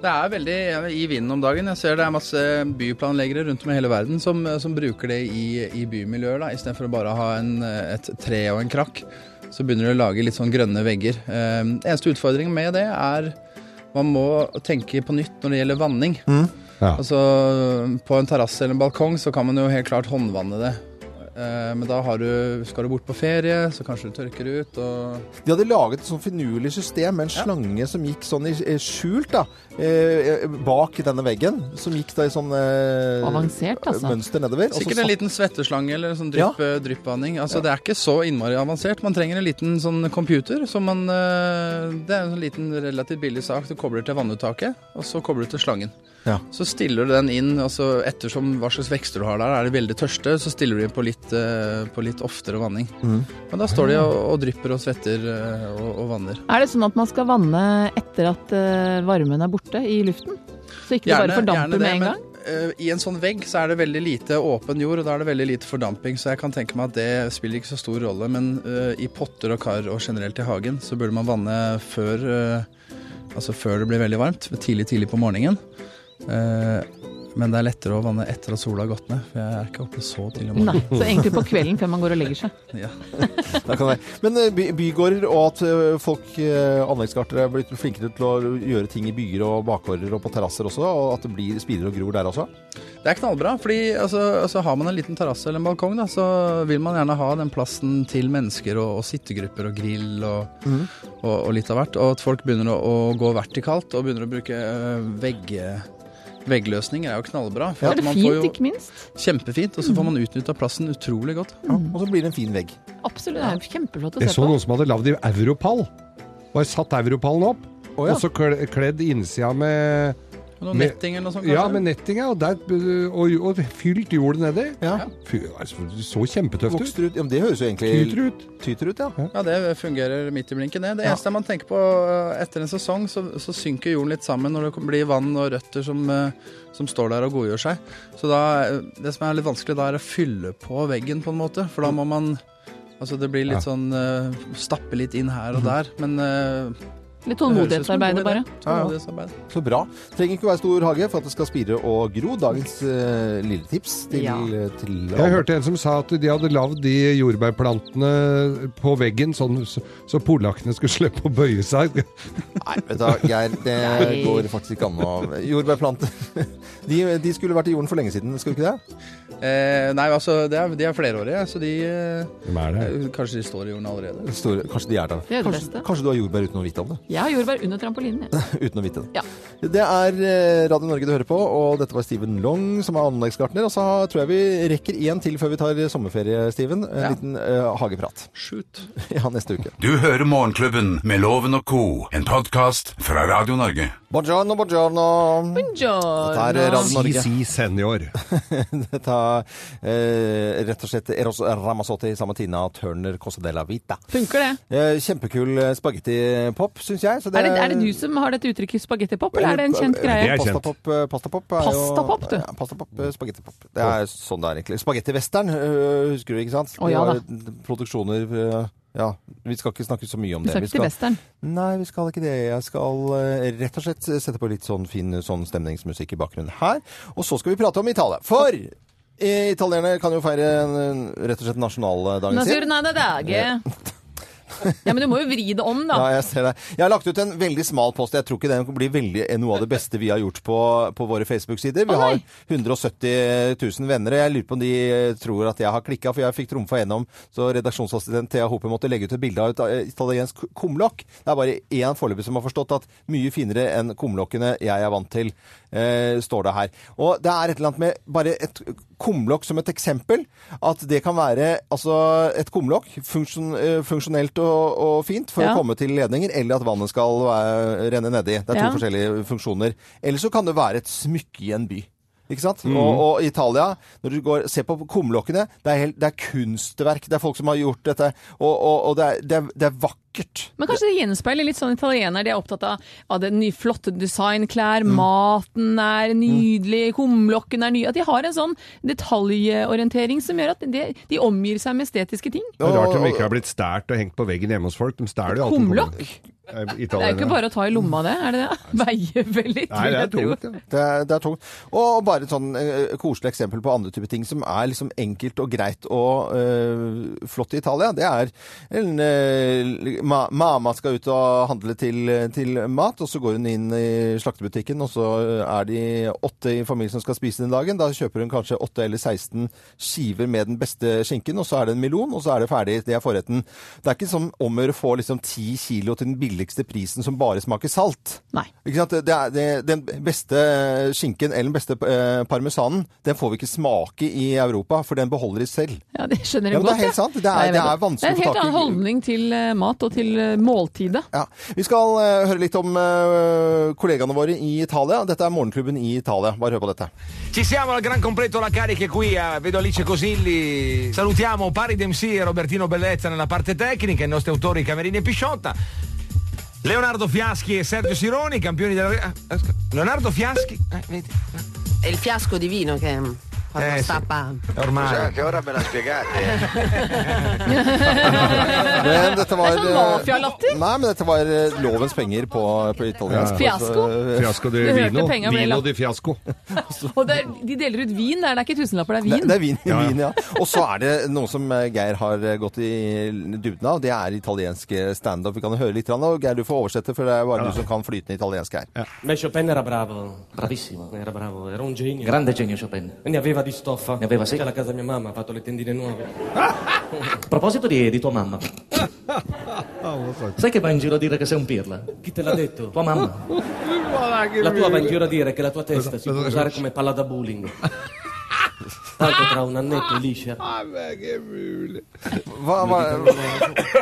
Speaker 9: Det er veldig i vinden om dagen. Jeg ser det er masse byplanleggere rundt om i hele verden som, som bruker det i, i bymiljøer, da, istedenfor å bare ha en, et tre og en krakk. Så begynner du å lage litt sånn grønne vegger. Eh, eneste utfordringen med det er man må tenke på nytt når det gjelder vanning.
Speaker 4: Ja.
Speaker 9: Altså, på en terrasse eller en balkong så kan man jo helt klart håndvanne det. Eh, men da har du, skal du bort på ferie, så kanskje du tørker ut og
Speaker 2: De hadde laget et sånn finurlig system med en slange som gikk sånn i, eh, skjult da, eh, eh, bak denne veggen, som gikk da i sånn eh,
Speaker 3: Avansert, altså.
Speaker 2: mønster nedover. og så
Speaker 9: Sikkert en
Speaker 2: satt-
Speaker 9: liten svetteslange eller en sånn drypp, dryppvanning. Altså, Det er ikke så innmari avansert. Man trenger en liten sånn computer. Som man, eh, det er en sånn liten, relativt billig sak. Du kobler til vannuttaket, og så kobler du til slangen.
Speaker 2: Ja.
Speaker 9: Så stiller du den inn altså ettersom hva slags vekster du har der. Er de veldig tørste, så stiller du inn på litt, eh, på litt oftere vanning. Men da står de og, og drypper og svetter eh, og, og vanner.
Speaker 3: Er det sånn at man skal vanne etter at eh, varmen er borte i luften? Så ikke det bare fordamper med en gang?
Speaker 9: eh, I en sånn vegg så er det veldig lite åpen jord, og da er det veldig lite fordamping, så jeg kan tenke meg at det spiller ikke så stor rolle. Men eh, i potter og kar og generelt i hagen så burde man vanne før, eh, altså før det blir veldig varmt. Tidlig, tidlig på morgenen. Eh, men det er lettere å vanne etter at sola har gått ned, for jeg er ikke oppe så tidlig om
Speaker 3: Nei,
Speaker 9: morgenen.
Speaker 3: så egentlig på kvelden før man går og legger seg.
Speaker 9: Ja.
Speaker 2: Da kan det være. Men eh, by bygårder og at eh, folk, eh, anleggsgartere, er blitt flinkere til å gjøre ting i byer og bakgårder og på terrasser også, og at det blir spirer og gror der også.
Speaker 9: Det er knallbra, fordi altså, altså, har man en liten terrasse eller en balkong, da, så vil man gjerne ha den plassen til mennesker og, og sittegrupper og grill og,
Speaker 4: Mhm.
Speaker 9: og, og litt av hvert. Og at folk begynner å, å gå vertikalt og begynner å bruke øh, vegg, veggløsninger er jo knallbra. For
Speaker 3: Er det
Speaker 9: at man får
Speaker 3: fint,
Speaker 9: jo
Speaker 3: ikke minst?
Speaker 9: kjempefint, og så får man utnytta plassen utrolig godt.
Speaker 2: Ja, og så blir det en fin vegg.
Speaker 3: Absolutt, det er jo kjempeflott å
Speaker 4: Jeg
Speaker 3: se
Speaker 4: så
Speaker 3: på.
Speaker 4: noen som hadde lagd i europall. Bare satt europallen opp,
Speaker 2: Å, ja.
Speaker 4: og så kle- kledd innsida med
Speaker 9: Og Noe
Speaker 4: Men-
Speaker 9: netting eller noe sånt, kanskje.
Speaker 4: Ja, med netting, ja. Og, der, og, og fylt jordet nedi.
Speaker 2: Ja.
Speaker 4: Fy, altså, det så kjempetøft ut.
Speaker 2: Vokser ut. Ja, men det høres jo egentlig
Speaker 4: Tyter ut.
Speaker 2: Tyter ut, ja.
Speaker 9: Ja, det fungerer midt i blinken, det. Det
Speaker 2: Ja.
Speaker 9: eneste man tenker på eh, etter en sesong, så, så synker jorden litt sammen når det blir vann og røtter som, eh, som står der og godgjør seg. Så da, eh, det som er litt vanskelig da, er å fylle på veggen på en måte, for da må man Altså det blir litt
Speaker 4: Ja.
Speaker 9: sånn eh, Stappe litt inn her og der, men eh, det
Speaker 3: Litt
Speaker 9: høres ut som en god
Speaker 3: tålmodighetsarbeid
Speaker 9: idé.
Speaker 3: bare.
Speaker 9: Tålmodighetsarbeid.
Speaker 2: Så bra. Trenger ikke være stor hage for at det skal spire og gro. Dagens eh, lille tips til, eh,
Speaker 3: Ja.
Speaker 2: til
Speaker 4: Jeg hørte en som sa at de hadde lagd de jordbærplantene på veggen, sånn, så, så polakkene skulle slippe å bøye seg.
Speaker 2: Nei, vet du, hva, Geir, det
Speaker 3: <laughs> Nei.
Speaker 2: går faktisk ikke an å Jordbærplanter. <laughs> De, de skulle vært i jorden for lenge siden, skulle ikke det?
Speaker 9: Eh, nei, altså det er, de er flerårige, så de eh,
Speaker 4: Hvem er det?
Speaker 9: Kanskje de står i jorden allerede.
Speaker 2: Store, kanskje de er der.
Speaker 3: Det er det
Speaker 2: kanskje,
Speaker 3: beste.
Speaker 2: kanskje du har jordbær uten å vite om det? <laughs>
Speaker 3: Jeg har jordbær under trampolinen, jeg.
Speaker 2: Uten å vite det.
Speaker 3: Ja.
Speaker 2: Det er eh, Radio Norge du hører på, og dette var Steven Long som er anleggsgartner. Og så har- tror jeg vi rekker én til før vi tar sommerferie, Steven. En
Speaker 9: Ja.
Speaker 2: liten eh, hageprat. <laughs>
Speaker 9: Shoot.
Speaker 2: Ja, neste uke.
Speaker 1: Du hører Morgenklubben med Loven og co., en podkast fra Radio Norge.
Speaker 2: Buongiorno, buongiorno. Dette er eh, Radio Norge.
Speaker 4: CC Senior.
Speaker 2: Dette er eh, rett og slett Eros Ramazzotti sammen med Tina Turner Cosa della Vita.
Speaker 3: Funker det?
Speaker 2: Eh, kjempekul eh, spagettipop, syns jeg. Så
Speaker 3: Er det, er det du som har dette uttrykket spagettipop, eller er det en kjent
Speaker 4: Det
Speaker 3: greie?
Speaker 4: er kjent.
Speaker 2: Pastapop eh, pastapop er jo-
Speaker 3: Pastapop, du.
Speaker 2: Ja, pastapop, eh, spagettipop. Det er sånn det er egentlig. Spagettivestern øh, husker du, ikke sant?
Speaker 3: Å, ja
Speaker 2: Det var
Speaker 3: da.
Speaker 2: Produksjoner øh, ja, Vi skal ikke snakke så mye om
Speaker 3: Du
Speaker 2: det.
Speaker 3: skal ikke til western.
Speaker 2: Nei, vi skal ikke det. Jeg skal øh, rett og slett sette på litt sånn fin sånn stemningsmusikk i bakgrunnen her. Og så skal vi prate om Italia. For eh, italienerne kan jo feire en- rett og slett nasjonaldagen sin.
Speaker 3: Nasjonale dage. Ja, men du må jo vri det om, da.
Speaker 2: Ja, jeg ser det. Jeg har lagt ut en veldig smal post. Jeg tror ikke den blir veldig, noe av det beste vi har gjort på, på våre Facebook-sider. Vi
Speaker 3: Å,
Speaker 2: har
Speaker 3: nei.
Speaker 2: 170 000 venner, og jeg lurer på om de eh, tror at jeg har klikka, for jeg fikk trumfa gjennom, så redaksjonsassistent Thea Hope måtte legge ut et bilde av et eh, italiensk kumlokk. Det er bare én foreløpig som har forstått at mye finere enn kumlokkene jeg er vant til, eh, står det her. Og det er et eller annet med bare et kumlokk som et eksempel, at det kan være altså, et kumlokk, funksjon, eh, funksjonelt og, og fint for
Speaker 3: Ja.
Speaker 2: å komme komme til ledninger, eller at vannet skal eh, renne nedi. Det er to
Speaker 3: Ja.
Speaker 2: forskjellige funksjoner. Eller så kan det være et smykke i en by. Ikke sant? Og, og i Italia, når du går, ser på kumlokkene, det er, helt, det er kunstverk. Det er folk som har gjort dette, og, og, og det, er, det, er, det er vakkert.
Speaker 3: Men kanskje det gjenspeiler litt sånn italiener. De er opptatt av, av det nye, flotte designklær,
Speaker 2: Mm.
Speaker 3: maten er nydelig, kumlokken er ny. At de har en sånn detaljorientering som gjør at de, de omgir seg med estetiske ting.
Speaker 4: Det er Rart de ikke har blitt stært og hengt på veggen hjemme hos folk. De stæler jo alltid Eh,
Speaker 3: Kumlokk? Det er jo ikke
Speaker 4: Italienere.
Speaker 3: bare å ta i lomma, det. er det det? <laughs> Veier veldig,
Speaker 4: Nei,
Speaker 3: tror
Speaker 4: det
Speaker 3: jeg.
Speaker 4: er tungt.
Speaker 3: tro.
Speaker 4: Ja.
Speaker 2: Det er, det er tungt. Og bare et sånn eh, koselig eksempel på andre typer ting som er liksom enkelt og greit og eh, flott i Italia, det er en, eh, ma mamma skal ut og handle til, til mat, og så går hun inn i slaktebutikken, og så eh, er de åtte i familien som skal spise den dagen. Da kjøper hun kanskje åtte eller 16 skiver med den beste skinken, og så er det en melon, og så er det ferdig. Det er forretten. Det er ikke som om å gjøre å få liksom ti kilo til den billigste prisen som bare smaker salt.
Speaker 3: Nei.
Speaker 2: Ikke sant? Det er, det, den beste skinken eller den beste eh, parmesanen, den får vi ikke smake i Europa, for den beholder de selv.
Speaker 3: Ja, det skjønner
Speaker 2: Ja,
Speaker 3: jeg
Speaker 2: men
Speaker 3: godt.
Speaker 2: det er helt
Speaker 3: ja.
Speaker 2: sant. Det er-
Speaker 3: Nei, jeg
Speaker 2: det
Speaker 3: vet
Speaker 2: er vanskelig
Speaker 3: Det er en
Speaker 2: å
Speaker 3: helt
Speaker 2: få tak i-
Speaker 3: annen holdning til eh, mat og til eh, måltidet.
Speaker 2: Ja. Vi skal eh, høre litt om eh, kollegaene våre i Italia. Dette er Morgenklubben i Italia. Bare hør på dette.
Speaker 10: Ci siamo al gran completo la carica è qui, eh, vedo Alice Cosilli. Salutiamo Pari Dempsey e Robertino Bellezza nella parte tecnica, i nostri autori Camerini e Pisciotta. Leonardo Fiaschi e Sergio Sironi, campioni della. eh, eh, scusa, Leonardo Fiaschi? Eh, vedi.
Speaker 11: È il fiasco di vino che mm, quando
Speaker 10: Eh, sì.
Speaker 11: stappa.
Speaker 10: Ormai.
Speaker 1: Che ora me la spiegate?
Speaker 2: <laughs> <laughs> Men dette var
Speaker 3: Det er sånn mafialatter.
Speaker 2: eh, Nei, men dette var eh, lovens penger på, på italiensk.
Speaker 3: Ja. Fiasko.
Speaker 2: Så, eh,
Speaker 4: Fiasco di
Speaker 3: Du hørte
Speaker 4: vino.
Speaker 3: penger bli
Speaker 4: Vino
Speaker 3: lagt.
Speaker 4: di fiasco.
Speaker 3: <laughs> Og det er, de deler ut vin der, det er ikke tusenlapper, det er
Speaker 2: Det,
Speaker 3: vin.
Speaker 2: det er vin,
Speaker 4: Ja, ja.
Speaker 2: vin, ja. Og så er det noe som eh, Geir har eh, gått i dybden av. Det er italiensk eh, standup. Vi kan høre litt. grann, Og Geir, du får oversette, for det er bare du som kan flytende italiensk her.
Speaker 5: Chopin era bravo, bravissimo, era bravo, era un genio. Grande genio Chopin. E ne aveva di stoffa. Ne aveva sì. Alla casa mia mamma ha fatto le tendine nuove. A proposito di, tua mamma. Sai che va in giro a dire che sei un pirla? Chi te l'ha detto? Tua mamma. La tua va in giro a dire che la tua testa si può usare come palla da bowling. Tanto tra un annetto e liscia.
Speaker 4: Nei, men det er ikke mulig. <laughs>
Speaker 2: Hva, hva,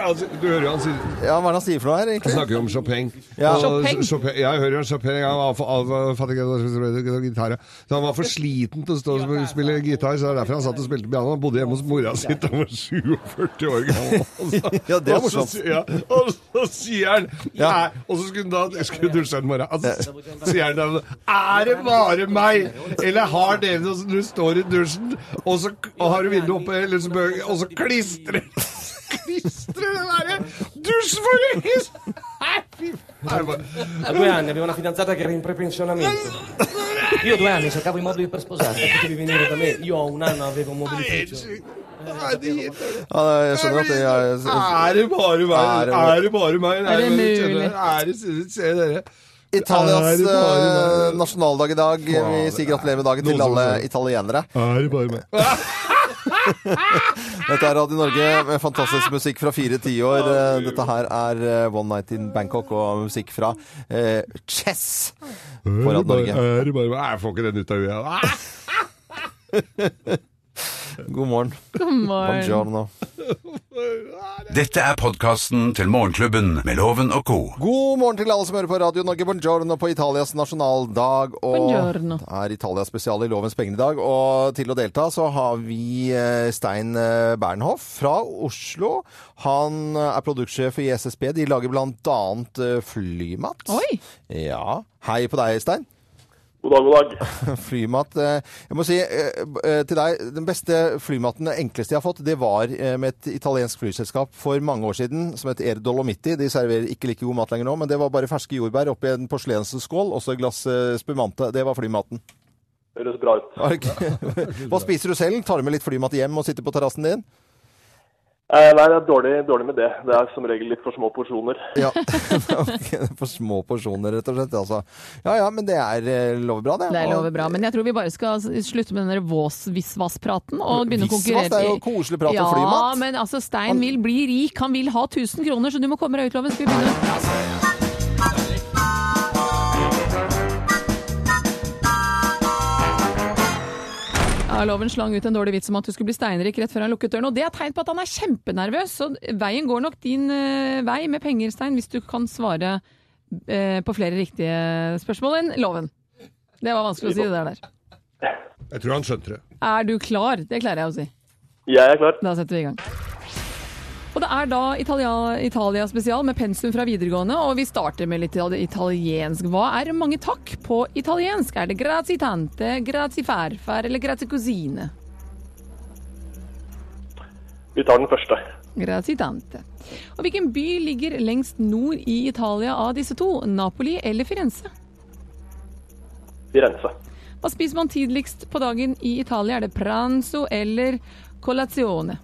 Speaker 4: Altså, Du hører jo han sier
Speaker 2: ja, hva er det han sier for noe her,
Speaker 4: Jeg
Speaker 2: egentlig?
Speaker 4: snakker jo om Chopin.
Speaker 2: Ja.
Speaker 4: Og
Speaker 3: Chopin?
Speaker 4: Chopin. Ja, Jeg hører jo Chopin. Han var, for, han var, fattig, han var, gitar, ja. så han var for sliten til å stå og spille gitar, så det er derfor han satt og spilte piano. Han bodde hjemme hos mora si da han var 47 år gammel.
Speaker 2: <laughs>
Speaker 4: Altså.
Speaker 2: Ja, det er
Speaker 4: Og så
Speaker 2: morsomt.
Speaker 4: sier- Ja, og så sier han Nei, Og så skulle han da skulle dusje en morgen. Altså, sier han da Er det bare meg, eller har dere noe som du står i dusjen, og så og har du vinduet oppe, eller så bør, og så klistrer Klistrer det derre dusjforhenget Nei, fy faen.
Speaker 5: A due anni avevo una fidanzata che era in prepensionamento. Io due anni cercavo i mobili per sposarmi, potevi venire da me. Io a un anno avevo un mobilificio.
Speaker 4: Nei, det gir-
Speaker 2: Ja, jeg skjønner Sånn at det er eh,
Speaker 4: Er det bare meg? Er det bare meg? Nei,
Speaker 3: Er det
Speaker 4: men kjenner-
Speaker 3: mulig?
Speaker 4: Er det Se dere.
Speaker 2: Italias
Speaker 4: Er det bare
Speaker 2: eh,
Speaker 4: meg?
Speaker 2: nasjonaldag i dag. Vi sier gratulerer med dagen til
Speaker 4: Noen som
Speaker 2: alle
Speaker 4: hører.
Speaker 2: italienere.
Speaker 4: Er det bare meg?
Speaker 2: Dette er Radio Norge med fantastisk musikk fra fire tiår. Eh, Dette her er eh, One Night in Bangkok og musikk fra eh, Chess på Radio Norge.
Speaker 4: Er det bare, Nei, jeg får ikke den ut av huet. Ah!
Speaker 2: God morgen.
Speaker 3: God morgen.
Speaker 2: Buongiorno.
Speaker 1: Dette er podkasten til Morgenklubben med Loven og co.
Speaker 2: God morgen til alle som hører på Radio Norge. Buongiorno på Italias nasjonaldag. Og
Speaker 3: Buongiorno.
Speaker 2: det er Italias spesial i Lovens penger i dag. Og til å delta så har vi eh, Stein eh, Bernhoff fra Oslo. Han eh, er produktsjef i SSB. De lager bl.a. flymat.
Speaker 3: Oi!
Speaker 2: Ja. Hei på deg, Stein.
Speaker 12: God dag, god dag.
Speaker 2: <laughs> Flymat. eh, Jeg må si eh, b- eh, til deg, den beste flymaten, den enkleste jeg har fått, det var eh, med et italiensk flyselskap for mange år siden som het Air Dolomitti. De serverer ikke like god mat lenger nå, men det var bare ferske jordbær oppi en porselensskål, også et glass eh, spumante. Det var flymaten. <laughs>
Speaker 12: Høres bra ut.
Speaker 2: Var det ikke?
Speaker 12: <laughs>
Speaker 2: Hva spiser du selv? Tar du med litt flymat hjem og sitter på terrassen din? <laughs>
Speaker 12: Eh, nei, det er dårlig, dårlig med det. Det er som regel litt for små porsjoner.
Speaker 2: Ja. For små porsjoner, rett og slett. Altså. Ja ja, men det er eh, lover bra, det.
Speaker 3: Det
Speaker 2: Og-
Speaker 3: lover bra, men jeg tror vi bare skal s- slutte med den der vås- visvas-praten og begynne å
Speaker 2: Visvas,
Speaker 3: konkurrere.
Speaker 2: det er jo
Speaker 3: i-
Speaker 2: koselig prat om
Speaker 3: ja,
Speaker 2: flymat.
Speaker 3: men altså, Stein vil bli rik, han vil ha 1000 kroner, så du må komme deg ut, Loven. Skal vi begynne?
Speaker 2: altså.
Speaker 3: Ja, Loven slang ut en dårlig vits om at du skulle bli steinrik rett før han lukket døren, og det er tegn på at han er kjempenervøs, så veien går nok din eh, vei med penger, Stein, hvis du kan svare eh, på flere riktige spørsmål enn Loven. Det var vanskelig å si det der. der.
Speaker 4: Jeg tror han skjønte det.
Speaker 3: Er du klar? Det klarer jeg å si.
Speaker 12: Jeg er klar.
Speaker 3: Da setter vi i gang. Og det er da Italia, Italia spesial med pensum fra videregående, og vi starter med litt itali- italiensk. Hva er mange takk på italiensk? Er det grazie tante, grazie farfar eller grazie cosine?
Speaker 12: Vi tar den første.
Speaker 3: Grazie tante. Og hvilken by ligger lengst nord i Italia av disse to? Napoli eller Firenze?
Speaker 12: Firenze.
Speaker 3: Hva spiser man tidligst på dagen i Italia? Er det pranzo eller colazione?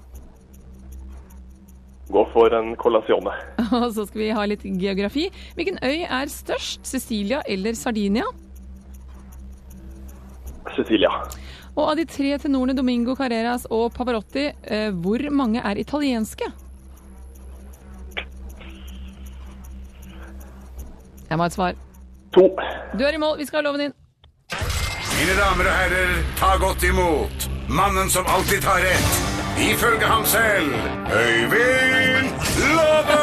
Speaker 12: Gå for en colazione.
Speaker 3: <laughs> Og så skal vi ha litt geografi. Hvilken øy er størst, Sicilia eller Sardinia?
Speaker 12: Cecilia.
Speaker 3: Og av de tre tenorene Domingo Carreras og Pavarotti, eh, hvor mange er italienske? Jeg må ha et svar.
Speaker 12: To.
Speaker 3: Du er i mål, vi skal ha loven din.
Speaker 1: Mine damer og herrer, ta godt imot mannen som alltid tar rett. Ifølge ham selv Øyvind Låve!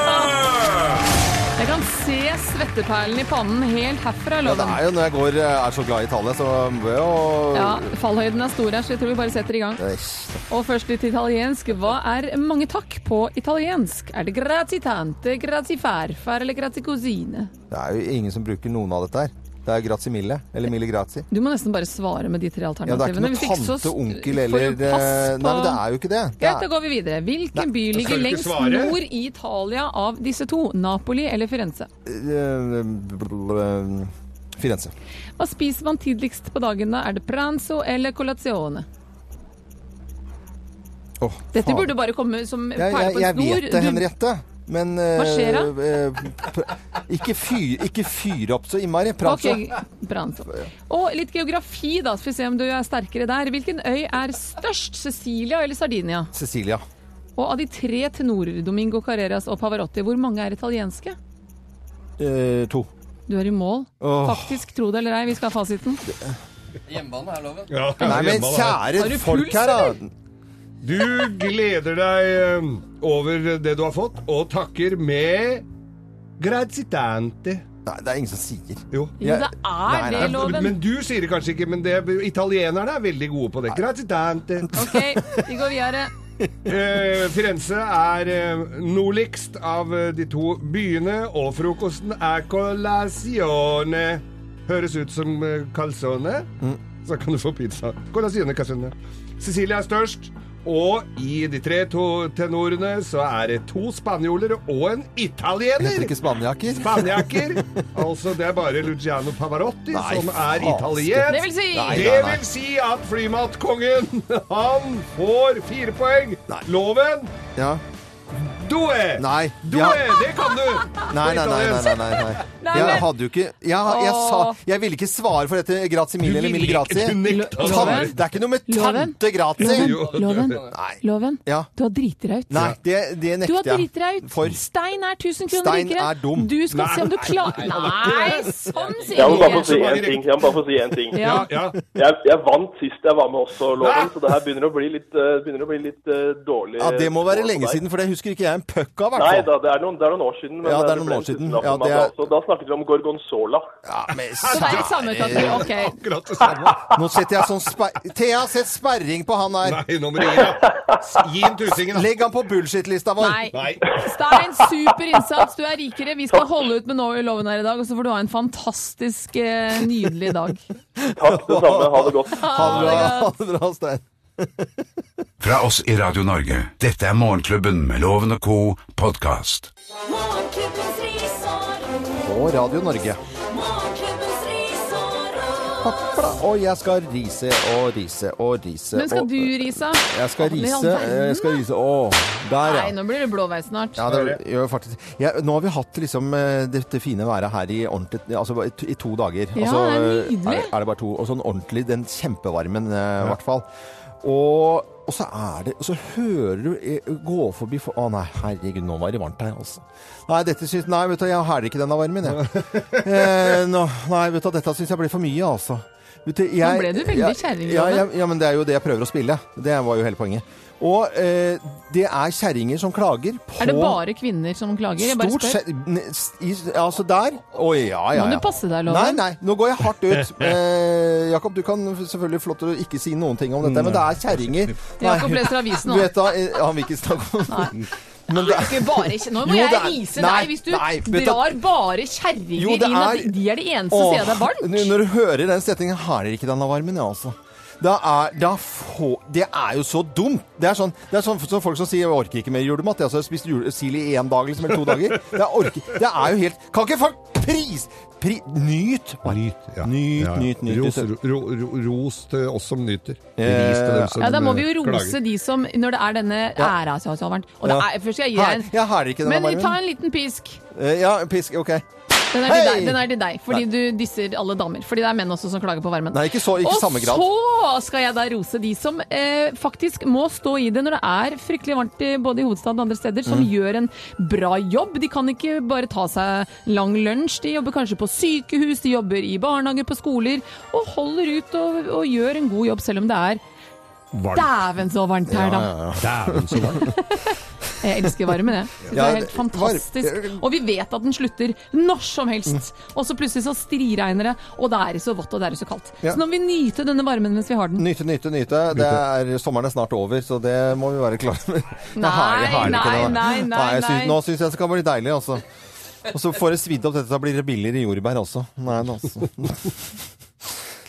Speaker 3: Jeg kan se svetteperlen i pannen helt herfra,
Speaker 2: Ja, det
Speaker 3: loven.
Speaker 2: er jo når jeg går, eh, er så glad i Italia, så må jeg jo
Speaker 3: Ja, fallhøyden er stor her, så jeg tror vi bare setter i gang.
Speaker 2: Eish.
Speaker 3: Og først litt italiensk. Hva er mange takk på italiensk? Er det grazie tante, grazie farfar eller grazie cosine?
Speaker 2: Det er jo ingen som bruker noen av dette her. Det er grazie mille, eller mille grazie.
Speaker 3: Du må nesten bare svare med de tre
Speaker 2: Ja, det er ikke
Speaker 3: alternativene.
Speaker 2: noe
Speaker 3: Hvis ikke så
Speaker 2: tante, onkel
Speaker 3: får du
Speaker 2: eller eh,
Speaker 3: pass
Speaker 2: Nei,
Speaker 3: på-
Speaker 2: men det er jo ikke det. det
Speaker 3: Greit, da
Speaker 2: er...
Speaker 3: går vi videre. Hvilken by
Speaker 2: da skal
Speaker 3: ligger
Speaker 2: du ikke
Speaker 3: lengst
Speaker 2: svare.
Speaker 3: nord i Italia av disse to? Napoli eller Firenze?
Speaker 2: Eh, bl- eh, Firenze.
Speaker 3: Hva spiser man tidligst på dagen da? Er det pranzo eller colazione?
Speaker 2: Åh,
Speaker 3: Dette
Speaker 2: faen.
Speaker 3: borde bare komme som
Speaker 2: jeg,
Speaker 3: perle
Speaker 2: jeg,
Speaker 3: på en
Speaker 2: jeg
Speaker 3: snor.
Speaker 2: vet det,
Speaker 3: Du-
Speaker 2: Henriette. Men
Speaker 3: Hva
Speaker 2: eh,
Speaker 3: skjer
Speaker 2: eh, pr- ikke, fyr, ikke fyr opp så innmari. Prat så.
Speaker 3: Ok, Pranzo. Og litt geografi, da. Skal vi se om du er sterkere der. Hvilken øy er størst? Sicilia eller Sardinia?
Speaker 2: Cecilia.
Speaker 3: Og av de tre tenorer, Domingo Carreras og Pavarotti, hvor mange er italienske?
Speaker 2: Eh, to.
Speaker 3: Du er i mål.
Speaker 2: Åh.
Speaker 3: Faktisk, tro det eller ei, vi skal ha fasiten.
Speaker 9: Hjemmebane er loven.
Speaker 2: Nei, men
Speaker 3: Har du
Speaker 2: kjære folk
Speaker 3: puls,
Speaker 2: her, da.
Speaker 3: eller?
Speaker 4: Du gleder deg eh, over det du har fått, og takker med grazie tante.
Speaker 2: Nei, det er ingen som sier.
Speaker 4: Jo.
Speaker 3: Jo, det er
Speaker 4: Nei,
Speaker 3: det,
Speaker 4: nei,
Speaker 3: loven.
Speaker 4: Men du sier det kanskje ikke, men det, italienerne er veldig gode på det. Grazie tante.
Speaker 3: Ok, vi går videre.
Speaker 4: Eh, Firenze er eh, nordligst av eh, de to byene, og frokosten er colazione. Høres ut som eh, calzone.
Speaker 2: Mm.
Speaker 4: Så kan du få pizza. Colazione calzone. Cecilia er størst, og i de tre to tenorene så er det to spanjoler og en
Speaker 2: Heter
Speaker 4: italiener.
Speaker 2: ikke spanjakker?
Speaker 4: Spanjakker. Altså, det er bare Luciano Pavarotti
Speaker 2: Nei,
Speaker 4: som er
Speaker 2: faen.
Speaker 4: italiensk.
Speaker 3: Det vil si- Nei,
Speaker 2: nei,
Speaker 4: Det
Speaker 2: nei.
Speaker 4: vil si at <laughs> flymatkongen, han får fire poeng. Loven
Speaker 2: Ja.
Speaker 10: Due!
Speaker 2: Nei.
Speaker 10: Due,
Speaker 2: ja.
Speaker 10: det kan du!
Speaker 2: Nei, nei, nei. nei, nei, nei,
Speaker 3: <laughs>
Speaker 10: Nei,
Speaker 2: nei. Jeg
Speaker 10: men-
Speaker 2: hadde jo ikke Jeg, jeg, sa,
Speaker 10: Åh.
Speaker 2: jeg ville ikke svare for dette grazie mille
Speaker 10: Du
Speaker 2: eller
Speaker 10: ville
Speaker 2: mille
Speaker 10: ikke-
Speaker 2: grazie.
Speaker 10: du nekta å
Speaker 2: Tan-
Speaker 10: svare.
Speaker 2: Det er ikke noe med
Speaker 3: Loven?
Speaker 2: tante grazie.
Speaker 3: Loven? Loven? Loven?
Speaker 2: Ja.
Speaker 3: Du har driti deg ut.
Speaker 2: Nei, det, det
Speaker 3: Du
Speaker 2: nekter
Speaker 3: har
Speaker 2: jeg.
Speaker 3: driti deg ut.
Speaker 2: For
Speaker 3: Stein er 1000 kroner
Speaker 2: Stein
Speaker 3: rikere.
Speaker 2: er dum.
Speaker 3: Du skal
Speaker 2: Nei.
Speaker 3: se om du klarer
Speaker 2: Nei,
Speaker 3: Nei, sånn sier
Speaker 12: Jeg må bare få si
Speaker 3: jeg.
Speaker 12: en ting. Jeg må bare få si en ting.
Speaker 3: Ja.
Speaker 12: Jeg, jeg vant sist jeg var med også, Loven, så det her begynner å bli litt, eh, begynner å bli litt eh, dårlig.
Speaker 2: Ja, det må være
Speaker 12: for
Speaker 2: lenge
Speaker 12: deg.
Speaker 2: siden, for det husker ikke jeg en puck av, i
Speaker 12: Nei
Speaker 2: hvert fall.
Speaker 12: da, det er noen, det er noen år siden.
Speaker 2: Ja, det er
Speaker 12: eh,
Speaker 2: noen
Speaker 12: ble
Speaker 2: år siden.
Speaker 12: en tusenlapp
Speaker 2: Ja,
Speaker 12: for meg
Speaker 2: det er-
Speaker 12: da også. da snakket vi om gorgonzola.
Speaker 2: Ja, men
Speaker 3: Så det er i samme kategori. Ok.
Speaker 4: Akkurat det samme.
Speaker 2: Nå setter jeg sånn sper... Thea, sett sperring på han her.
Speaker 4: Nei, nå må du gi Gi en tusingen, da.
Speaker 2: Legg han på bullshit-lista vår.
Speaker 3: Nei. Stein, super innsats. Du er rikere. Vi skal holde ut med no- loven her i dag, og så får du ha en fantastisk eh, nydelig
Speaker 2: <laughs>
Speaker 3: dag.
Speaker 12: Takk, det samme. Ha det godt.
Speaker 2: Ha det bra, ha det bra Stein.
Speaker 1: Fra oss i Radio Norge, dette er Morgenklubben med Loven og Co. podkast.
Speaker 8: Morgenklubbens risår.
Speaker 2: Og Radio Norge.
Speaker 8: Morgenklubbens risår.
Speaker 2: Papla, Og jeg skal rise og rise og rise.
Speaker 3: Men skal
Speaker 2: og-
Speaker 3: du, Risa?
Speaker 2: Jeg skal
Speaker 3: Men i all
Speaker 2: rise. eh,
Speaker 3: verden,
Speaker 2: Jeg skal rise. Å, der, ja.
Speaker 3: Nei, nå blir det blåveis snart.
Speaker 2: Ja, det gjør faktisk ja, Nå har vi hatt liksom eh, dette fine været her i, ordentlig, altså, i to- i to dager.
Speaker 3: Ja,
Speaker 2: altså,
Speaker 3: det er nydelig.
Speaker 2: Er, er det bare to. Og sånn ordentlig den kjempevarmen, eh, i hvert fall. Og, og så er det Og så hører du eh, gå forbi for, Å nei, herregud, nå var det varmt her, altså. Nei, dette syns Nei, vet du, jeg hæler ikke denne varmen, jeg. eh, nå, nei, vet du, dette syns jeg blir for mye, altså. Vet du, jeg,
Speaker 3: Nå ble du veldig
Speaker 2: jeg-
Speaker 3: kjerring,
Speaker 2: Ja,
Speaker 3: Loven.
Speaker 2: jeg, ja, men det er jo det jeg prøver å spille. Det var jo hele poenget. Og eh, det er kjerringer som klager på
Speaker 3: Er det bare kvinner som klager? Jeg bare
Speaker 2: Stort
Speaker 3: spør.
Speaker 2: sett n- s- i- Altså der Å ja, ja, ja.
Speaker 3: Må du passe deg,
Speaker 2: Nei,
Speaker 3: Loven?
Speaker 2: nei. Nå går jeg hardt ut. Eh, Jakob, du kan selvfølgelig flott å ikke si noen ting om dette, men det er kjerringer.
Speaker 3: Jakob
Speaker 2: Nei, <laughs>
Speaker 3: leser avisen nå.
Speaker 2: du vet da, eh, Han vil ikke snakke om <laughs> Men det
Speaker 3: Ikke bare kj- Nå må
Speaker 2: Jo, det
Speaker 3: jeg
Speaker 2: er-
Speaker 3: vise
Speaker 2: nei,
Speaker 3: deg hvis du
Speaker 2: nei, vet du-
Speaker 3: drar bare
Speaker 2: Jo,
Speaker 3: kjerringer
Speaker 2: det
Speaker 3: inn at
Speaker 2: er-
Speaker 3: de er de eneste som ser deg varmt.
Speaker 2: Åh, Når du hører den setningen, har dere ikke denne varmen, ja, altså. Da er, da få, det er jo så dumt. Det er sånn, det er sånn som folk som sier 'jeg orker ikke mer julemat'. Jeg har spist jule, sild i én dag liksom, eller to
Speaker 3: <laughs>
Speaker 2: dager. Det er, orker, det er jo helt Kan ikke folk pris... Pri, nyt! Nyt, nyt, nyt, nyt.
Speaker 4: Ros, ro, ro, ros til oss som nyter.
Speaker 2: Eh,
Speaker 4: Ris til dem som
Speaker 3: Ja, Da må vi jo
Speaker 4: eh,
Speaker 3: rose
Speaker 4: klager.
Speaker 3: de som Når det er denne
Speaker 2: Ja.
Speaker 3: æra som har vært. Og det
Speaker 2: Ja.
Speaker 3: er, først skal jeg gi
Speaker 2: Her-
Speaker 3: deg en
Speaker 2: jeg har ikke denne
Speaker 3: Men
Speaker 2: varmen.
Speaker 3: ta en liten pisk.
Speaker 2: Eh, Ja, pisk. OK.
Speaker 3: Den er, til
Speaker 2: Hei!
Speaker 3: deg, den er til deg, fordi du disser alle damer. Fordi det er menn også som klager på varmen.
Speaker 2: Nei, ikke så- ikke
Speaker 3: og
Speaker 2: samme grad.
Speaker 3: så skal jeg da rose de som eh, faktisk må stå i det når det er fryktelig varmt i- både i hovedstaden og andre steder, som
Speaker 13: Mm.
Speaker 3: gjør en bra jobb. De kan ikke bare ta seg lang lunsj. De jobber kanskje på sykehus, de jobber i barnehager, på skoler, og holder ut og, og gjør en god jobb, selv om det er dæven så varmt her, da.
Speaker 4: Dæven, så varmt.
Speaker 3: <laughs> Jeg elsker varmen, jeg.
Speaker 2: Ja,
Speaker 3: Synes det er
Speaker 2: det-
Speaker 3: helt fantastisk. Og vi vet at den slutter når som helst.
Speaker 2: Mm.
Speaker 3: Og så plutselig så striregner det, og det er så vått og det er så kaldt.
Speaker 2: Ja.
Speaker 3: Så nå må vi nyte denne varmen mens vi har den.
Speaker 2: Nyte, nyte, nyte. Det er, sommeren er snart over, så det må vi være klare <laughs> med.
Speaker 3: Nei,
Speaker 2: Herlig, herlig,
Speaker 3: nei,
Speaker 2: ikke det, da.
Speaker 3: nei, nei,
Speaker 2: jeg synes-
Speaker 3: nei.
Speaker 2: Nå syns jeg det kan bli deilig, altså. Og så får jeg svidd opp dette, da blir det billigere jordbær også. Nei, nei, <laughs> altså.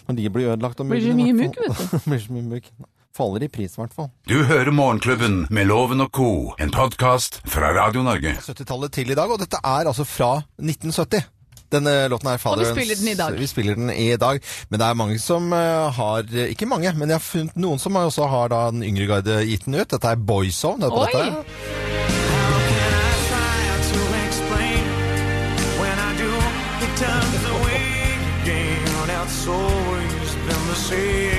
Speaker 2: Når de blir ødelagt om
Speaker 3: Blir så mye mugg, vet du.
Speaker 2: <laughs> Blir så mye mugg. Faller i pris, i hvert fall.
Speaker 1: Du hører Morgenklubben med Loven og Co., en podkast fra Radio Norge.
Speaker 2: 70-tallet til i dag, og dette er altså fra 1970. Denne låten her,
Speaker 3: Og vi
Speaker 2: Fatherlands-
Speaker 3: spiller den i dag.
Speaker 2: Vi spiller den i dag. Men det er mange som eh, har Ikke mange, men jeg har funnet noen som også har da den yngre garde gitt den ut. Dette er Boyzone. Dette,
Speaker 8: Oi!
Speaker 2: dette.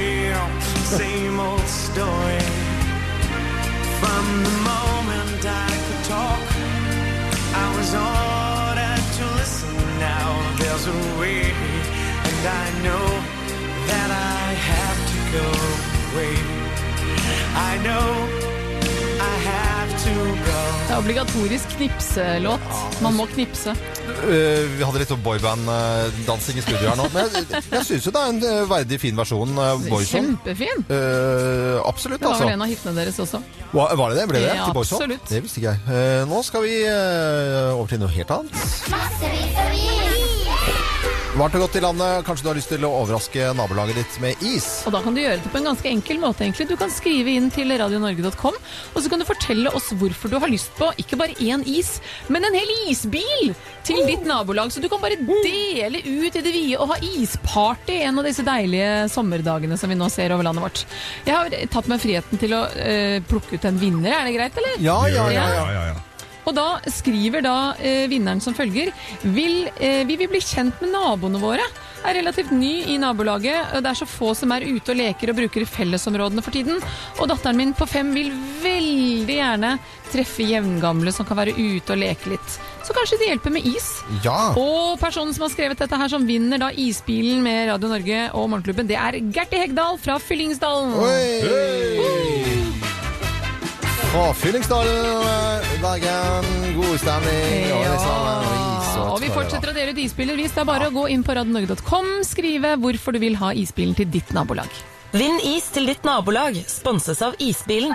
Speaker 13: Same old story from the moment I could talk. I was ordered to listen. Now there's a way, and I know that I have to go away. I know I have to go.
Speaker 3: Det er obligatorisk knipselåt. Man må knipse.
Speaker 2: Eh, vi hadde litt sånn boyband-dansing i studio her nå. Men jeg, jeg syns jo det er en eh, verdig fin versjon. Uh, Boyzone.
Speaker 3: Kjempefin.
Speaker 2: Eh, absolutt,
Speaker 3: Det var vel
Speaker 2: altså.
Speaker 3: en av hitene deres også.
Speaker 2: Hva- Var det det? Ble det
Speaker 3: Ja,
Speaker 2: til Boyzone?
Speaker 3: absolutt.
Speaker 2: Det visste ikke jeg. Eh, nå skal vi eh, over til noe helt annet.
Speaker 8: Massevis av ris.
Speaker 2: Varmt og godt i landet. Kanskje du har lyst til å overraske nabolaget ditt med is?
Speaker 3: Og da kan du gjøre det på en ganske enkel måte, egentlig. Du kan skrive inn til radionorge.com, og så kan du fortelle oss hvorfor du har lyst på ikke bare én is, men en hel isbil til ditt nabolag. Så du kan bare dele ut i det vide og ha isparty en av disse deilige sommerdagene som vi nå ser over landet vårt. Jeg har tatt meg friheten til å eh, plukke ut en vinner, er det greit, eller?
Speaker 2: Ja, ja, ja. ja,
Speaker 3: Og da skriver da eh, vinneren som følger vil, eh, Vi vil bli kjent med naboene våre. Er relativt ny i nabolaget. og Det er så få som er ute og leker og bruker fellesområdene for tiden. Og datteren min på fem vil veldig gjerne treffe jevngamle som kan være ute og leke litt. Så kanskje det hjelper med is.
Speaker 2: Ja.
Speaker 3: Og personen som har skrevet dette her, som vinner da isbilen med Radio Norge og Morgenklubben, det er Gerti Hegdal fra Fyllingsdalen.
Speaker 2: Fra Fyllingsdalen, eh, Bergen. God stemning. Og liksom,
Speaker 3: Og vi fortsetter å dele ut isbiler. Hvis det er bare å gå inn på radionorge.com, skrive hvorfor du vil ha isbilen til ditt nabolag.
Speaker 14: Vinn is til ditt nabolag, sponses av Isbilen.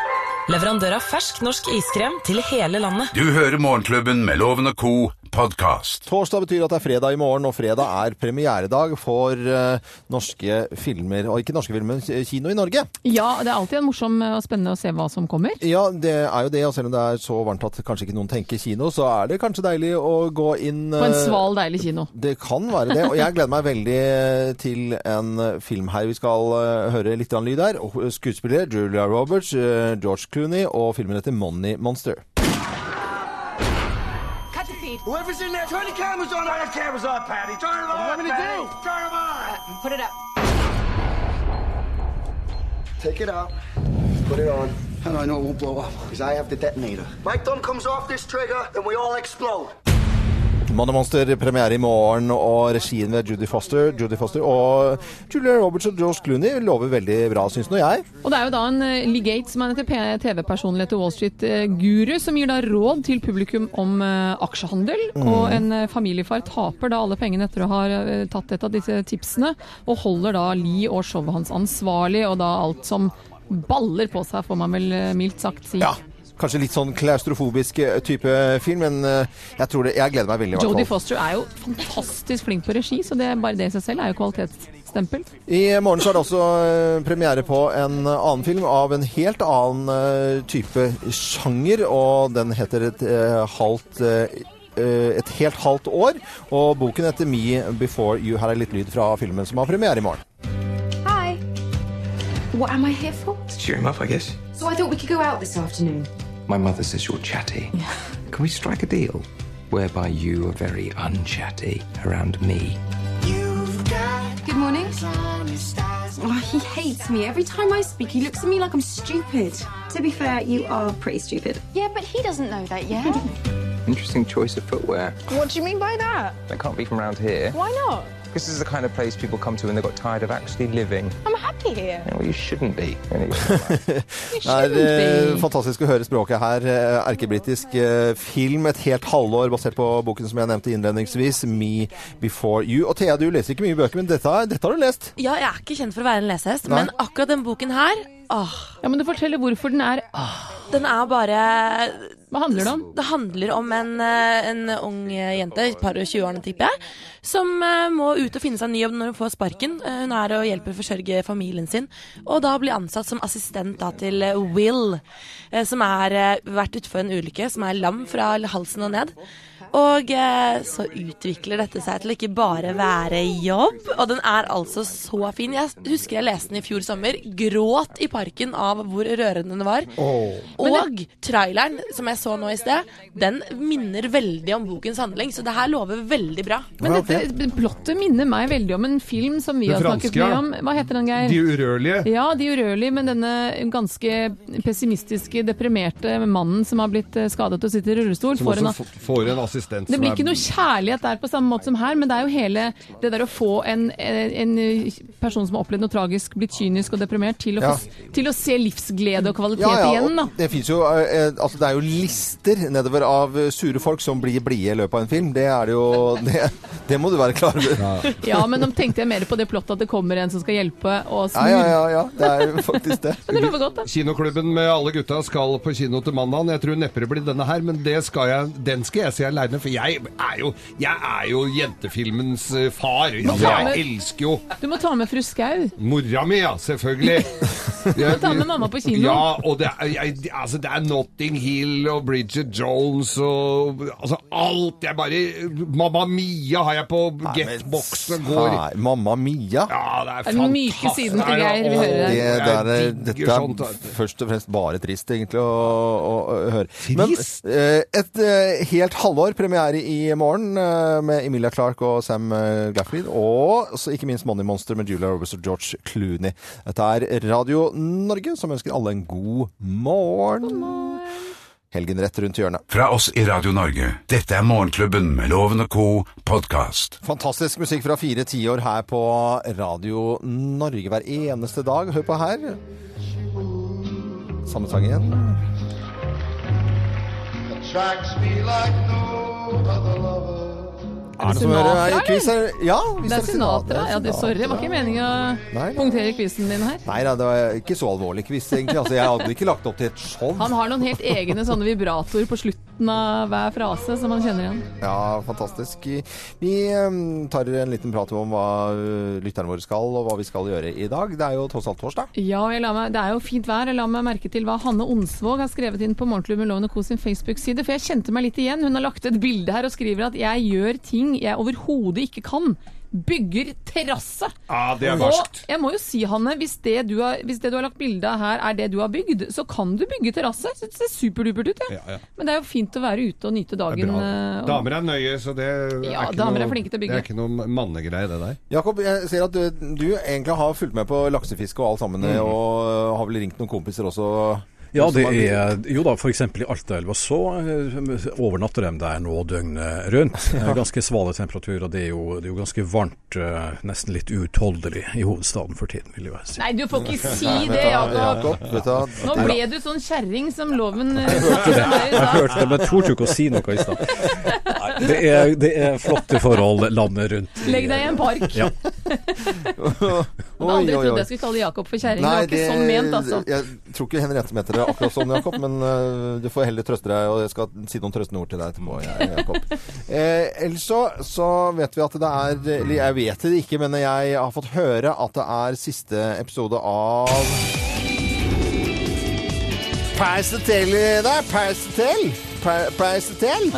Speaker 14: Leverandør av fersk norsk iskrem til hele landet.
Speaker 1: Du hører Morgenklubben med Loven og Co. podkast.
Speaker 2: Torsdag betyr at det er fredag i morgen, og fredag er premieredag for eh, norske filmer. Og ikke norske filmer, men k- kino i Norge.
Speaker 3: Ja, det er alltid en morsom og spennende å se hva som kommer.
Speaker 2: Ja, det er jo det. Og selv om det er så varmt at kanskje ikke noen tenker kino, så er det kanskje deilig å gå inn
Speaker 3: På en
Speaker 2: eh,
Speaker 3: sval, deilig kino.
Speaker 2: Det kan være det. Og jeg gleder meg veldig eh, til en film her. Vi skal eh, høre litt grann lyd her. Og Skuespiller Julia Roberts, eh, George Clooney og filmen heter Money Monster.
Speaker 15: Cut the feed. Whoever's in there, turn the cameras on. I got cameras on, Patty. Turn them on. What do you want me to do? Turn them on. put it up.
Speaker 16: Take it out. Put it on. How do I know it won't blow up? Because I have the detonator. My thumb comes off this trigger, and we all explode.
Speaker 2: Money Monster premiere i morgen, og regien ved Judy Foster. Judy Foster og Julia Roberts og George Clooney lover veldig bra, syns nå jeg.
Speaker 3: Og det er jo da en eh, Lee Gates, som er en TV- TV-personlighet og Wall Street-guru, som gir da råd til publikum om eh, aksjehandel.
Speaker 2: Mm.
Speaker 3: Og en eh, familiefar taper da alle pengene etter å ha eh, tatt et av disse tipsene, og holder da Lee og showet hans ansvarlig, og da alt som baller på seg, får man vel eh, mildt sagt si.
Speaker 2: Kanskje litt sånn klaustrofobisk eh, type film, men eh, jeg tror det, jeg gleder meg veldig. i hvert fall.
Speaker 3: Jodie Foster er jo fantastisk flink på regi, så det er bare det i seg selv er jo kvalitetsstempel.
Speaker 2: I morgen så er det også eh, premiere på en eh, annen film av en helt annen eh, type sjanger, og den heter et eh, halvt eh, eh, et helt halvt år, og boken heter Me Before You. Her er litt lyd fra filmen som har premiere i morgen.
Speaker 17: Hi. What am I here for?
Speaker 18: Cheer him up, I guess.
Speaker 17: So I thought we could go out this afternoon.
Speaker 18: My mother says you're chatty. Can we strike a deal whereby you are very unchatty around me?
Speaker 17: Good morning. Oh, he hates me. Every time I speak, he looks at me like I'm stupid. To be fair, you are pretty stupid.
Speaker 19: Yeah, but he doesn't know that yet.
Speaker 18: Interesting choice of footwear.
Speaker 19: what do you mean by that?
Speaker 18: That can't be from around here.
Speaker 19: Why not?
Speaker 18: This is the kind of place people come to when they got tired of actually living.
Speaker 19: I'm happy here.
Speaker 18: Yeah, well, you shouldn't be. Anyway.
Speaker 2: Det er eh, fantastisk å høre språket her. Eh, Erkebritisk eh, film, et helt halvår basert på boken som jeg nevnte innledningsvis, Me Before You. Og Thea, du leser ikke mye bøker, men dette, dette har du lest.
Speaker 20: Ja, jeg er ikke kjent for å være en lesehest,
Speaker 2: Nei.
Speaker 20: men akkurat den boken her åh.
Speaker 3: Ja, Men du forteller hvorfor den er åh.
Speaker 20: Den er bare
Speaker 3: Hva handler det om?
Speaker 20: Det handler om en, eh, en ung eh, jente, et par og 20-årene tipper jeg, som eh, må ut og finne seg en ny jobb når hun får sparken. Eh, Hun er og hjelper å forsørge familien sin, og da blir ansatt som assistent da til eh, Will, eh, som har vært utfor en ulykke, som er lam fra halsen og ned. Og eh, så utvikler dette seg til å ikke bare være jobb, og den er altså så fin. Jeg husker jeg leste den i fjor sommer, gråt i parken av hvor rørende den var. Og traileren som jeg så nå i sted, den minner veldig om bokens handling, så det her lover veldig bra.
Speaker 3: Men dette plottet minner meg veldig om en film som vi
Speaker 4: Den
Speaker 3: har snakket
Speaker 4: franske,
Speaker 3: mye
Speaker 4: ja.
Speaker 3: om. Hva heter den, Geir?
Speaker 4: De urørlige.
Speaker 3: Ja, De urørlige, men denne ganske pessimistiske, deprimerte mannen som har blitt eh, skadet og sitter i rullestol.
Speaker 4: Som
Speaker 3: får en-
Speaker 4: også f- får en assistent
Speaker 3: Det
Speaker 4: som
Speaker 3: blir
Speaker 4: er-
Speaker 3: ikke noe kjærlighet der på samme måte som her, men det er jo hele det der å få en, en person som har opplevd noe tragisk, blitt kynisk og deprimert, til å,
Speaker 2: Ja.
Speaker 3: få, til å se livsglede og kvalitet igjen. da.
Speaker 2: og Det finnes jo eh, Altså, det er jo lister nedover av eh, sure folk som blir blide i løpet av en film. Det er det jo <laughs> Det, det må du være klar over.
Speaker 3: Ja, men nå tenkte jeg mer på det plottet at det kommer en som skal hjelpe og
Speaker 2: Ja,
Speaker 3: snu.
Speaker 2: ja, ja, ja. Det er jo faktisk det.
Speaker 3: Men det lover godt, da.
Speaker 4: Kinoklubben med alle gutta skal på kino til mandagen. Jeg tror neppe det blir denne her, men det skal jeg, den skal jeg se aleine. gjerne, for jeg er jo, jeg er jo jentefilmens eh, far. Altså,
Speaker 3: ta med-
Speaker 4: jeg elsker jo
Speaker 3: Du må ta med fru Skau.
Speaker 4: mora mi, ja, selvfølgelig.
Speaker 3: <laughs> må ta med mamma på kino.
Speaker 4: Ja, og det er, jeg, altså, det er Notting Hill og Bridget Jones og altså, alt. Jeg bare Mamma Mia har jeg på getbox og går
Speaker 2: Nei, Mamma Mia?
Speaker 4: Ja, det
Speaker 3: er Den myke fantastisk. siden til Geir, vi hører
Speaker 2: det der,
Speaker 3: det. Jeg
Speaker 2: er-
Speaker 3: digger
Speaker 2: dette er
Speaker 3: sånt,
Speaker 4: altså.
Speaker 2: f- først og fremst bare trist, egentlig, å, å, å høre. Trist? Men eh, et eh, helt halvår premiere i morgen eh, med Emilia Clarke og Sam eh, Gaffrey, og så ikke minst Money Monster med Julia Roberts og George Clooney. Dette er Radio Norge, som ønsker alle en god morgen. God morgen. Helgen rett rundt hjørnet.
Speaker 1: Fra oss i Radio Norge, dette er Morgenklubben med Loven og co. podkast.
Speaker 2: Fantastisk musikk fra fire tiår her på Radio Norge hver eneste dag. Hør på her. Samme sang igjen.
Speaker 15: Attracts me like no other lover.
Speaker 2: Er det som hører
Speaker 3: sånn
Speaker 2: i quiz her? Ja, hvis
Speaker 3: det er Sinatra. Ja, det, sorry, det var ikke
Speaker 2: Sinatra.
Speaker 3: meningen
Speaker 2: Nei.
Speaker 3: å punktere quizen din her.
Speaker 2: Nei da, det var ikke så alvorlig quiz, egentlig. Altså, jeg hadde ikke lagt opp til et show.
Speaker 3: Han har noen helt egne sånne vibratorer på slutten av hver frase som han kjenner igjen.
Speaker 2: Ja, fantastisk. Vi eh, tar en liten prat om hva eh, lytterne våre skal, og hva vi skal gjøre i dag. Det er jo tross alt torsdag.
Speaker 3: Ja, og jeg la meg, Det er jo fint vær. Jeg la meg merke til hva Hanne Onsvåg har skrevet inn på Morgenklubben Loven og Co. sin Facebook-side. For jeg kjente meg litt igjen. Hun har lagt et bilde her og skriver at jeg gjør ting jeg overhodet ikke kan. Bygger terrasse.
Speaker 4: Ja, det er
Speaker 3: og
Speaker 4: varskt.
Speaker 3: jeg må jo si, Hanne, hvis det du har, hvis det du har lagt bilde av her er det du har bygd, så kan du bygge terrasse. Så Det ser superdupert ut, jeg.
Speaker 4: Ja, ja.
Speaker 3: Men det er jo fint å være ute og
Speaker 4: Det
Speaker 3: nyte
Speaker 4: er
Speaker 3: dagen.
Speaker 4: bra.
Speaker 3: eh, og-
Speaker 4: Damer er nøye, så det
Speaker 3: Ja,
Speaker 4: er ikke
Speaker 3: damer er
Speaker 4: noe,
Speaker 3: flinke til å bygge.
Speaker 4: Det er ikke noe mannegreie, det der.
Speaker 2: Jakob, jeg ser at du, du egentlig har fulgt med på laksefiske og alt sammen, og uh, har vel ringt noen kompiser også?
Speaker 6: Mhm. Ja,
Speaker 2: som
Speaker 6: det
Speaker 2: har-
Speaker 6: er Jo da, f.eks. i Altaelva så eh, overnatter de der nå døgnet rundt. Eh, Ganske svale temperaturer. Det er jo, det er jo ganske varmt, eh, nesten litt uutholdelig i hovedstaden for tiden, vil jeg si.
Speaker 3: Nei, du får ikke si det, Jakob.
Speaker 2: vet du hva?
Speaker 3: Nå ble du sånn kjerring som loven eh,
Speaker 6: Jeg hørte det, men jeg torde jo ikke å si noe i stad.
Speaker 3: <laughs>
Speaker 6: Nei, Det er, det er flotte forhold landet rundt. eh,
Speaker 3: Legg deg i en park.
Speaker 6: Ja.
Speaker 3: Jeg hadde aldri
Speaker 2: Oi, oi,
Speaker 3: trodd
Speaker 2: oi.
Speaker 3: jeg skulle kalle Jakob for kjerring. Det var ikke sånn ment, altså.
Speaker 2: Jeg tror ikke Henriette mente det akkurat sånn, Jakob, men eh, du får heller trøste deg, og jeg skal si noen trøstende ord til deg etterpå, jeg-
Speaker 3: <laughs>
Speaker 2: Jakob. Eh, ellers så, så vet vi at det er Eller jeg vet det ikke, men jeg har fått høre at det er siste episode av Paris Hotel i dag. Paris Hotel. Pa- Paris Hotel.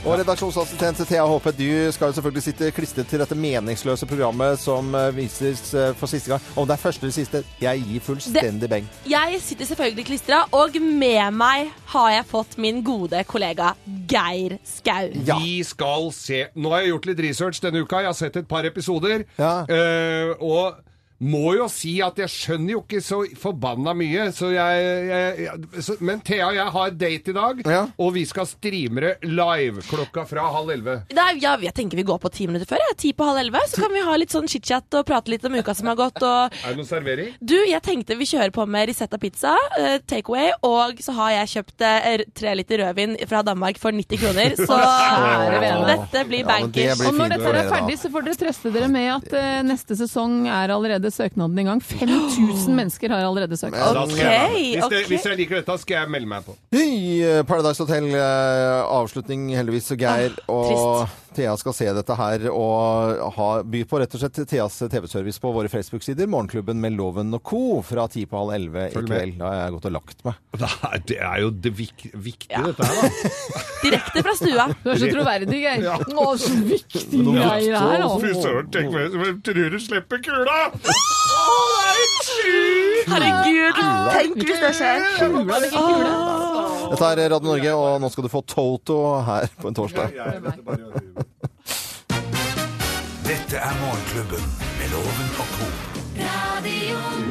Speaker 2: Og redaksjonsassistent Thea Håpe, du skal jo selvfølgelig sitte klistret til dette meningsløse programmet som eh, vises eh, for siste gang. Om det er første eller siste, jeg gir fullstendig beng.
Speaker 20: Jeg sitter selvfølgelig klistra, og med meg har jeg fått min gode kollega Geir Skau.
Speaker 4: Vi skal se Nå har jeg gjort litt research denne uka. Jeg har sett et par episoder. Eh, og må jo si at jeg skjønner jo ikke så forbanna mye, så jeg, jeg, jeg så, Men Thea og jeg har date i dag, og vi skal streame det live klokka fra halv elleve.
Speaker 20: Nei, ja, jeg tenker vi går på ti minutter før. Ja. Ti på halv elleve. Så kan vi ha litt sånn chit-chat og prate litt om uka som har gått. Og
Speaker 4: Er det noe servering?
Speaker 20: du, jeg tenkte vi kjører på med Risetta pizza, eh, takeaway, og så har jeg kjøpt eh, r- tre liter rødvin fra Danmark for 90 kroner. Så
Speaker 3: Kjære vene.
Speaker 20: dette blir bankers.
Speaker 3: Og når dette er ferdig, så får dere trøste dere med at eh, neste sesong er allerede søknaden i gang. 5000 mennesker har allerede søkt.
Speaker 4: Men da skal jeg være med. hvis, det, hvis jeg liker dette, skal jeg melde meg på.
Speaker 2: Hei, eh, Paradise Hotel, eh, avslutning heldigvis, og Geir og Thea skal se dette her og ha, by på rett og slett Theas TV-service på våre Facebook-sider, Morgenklubben med Loven og Co. fra ti på halv elleve i
Speaker 4: Følg med.
Speaker 2: kveld. Da har jeg gått og lagt meg.
Speaker 4: Det er, jo det viktige, dette her, da.
Speaker 20: Direkte fra stua.
Speaker 3: Du er så troverdig, Geir.
Speaker 4: Ja.
Speaker 3: Å, så viktig Geir er,
Speaker 4: Fy
Speaker 3: altså.
Speaker 4: søren, tenk hvem som tror du slipper kula!
Speaker 20: Herregud,
Speaker 2: Kula.
Speaker 20: tenk hvis det skjer.
Speaker 2: Dette er Radio Norge, og nå skal du få Toto her på en torsdag.
Speaker 1: Dette er Morgenklubben med Loven og co.
Speaker 8: Radio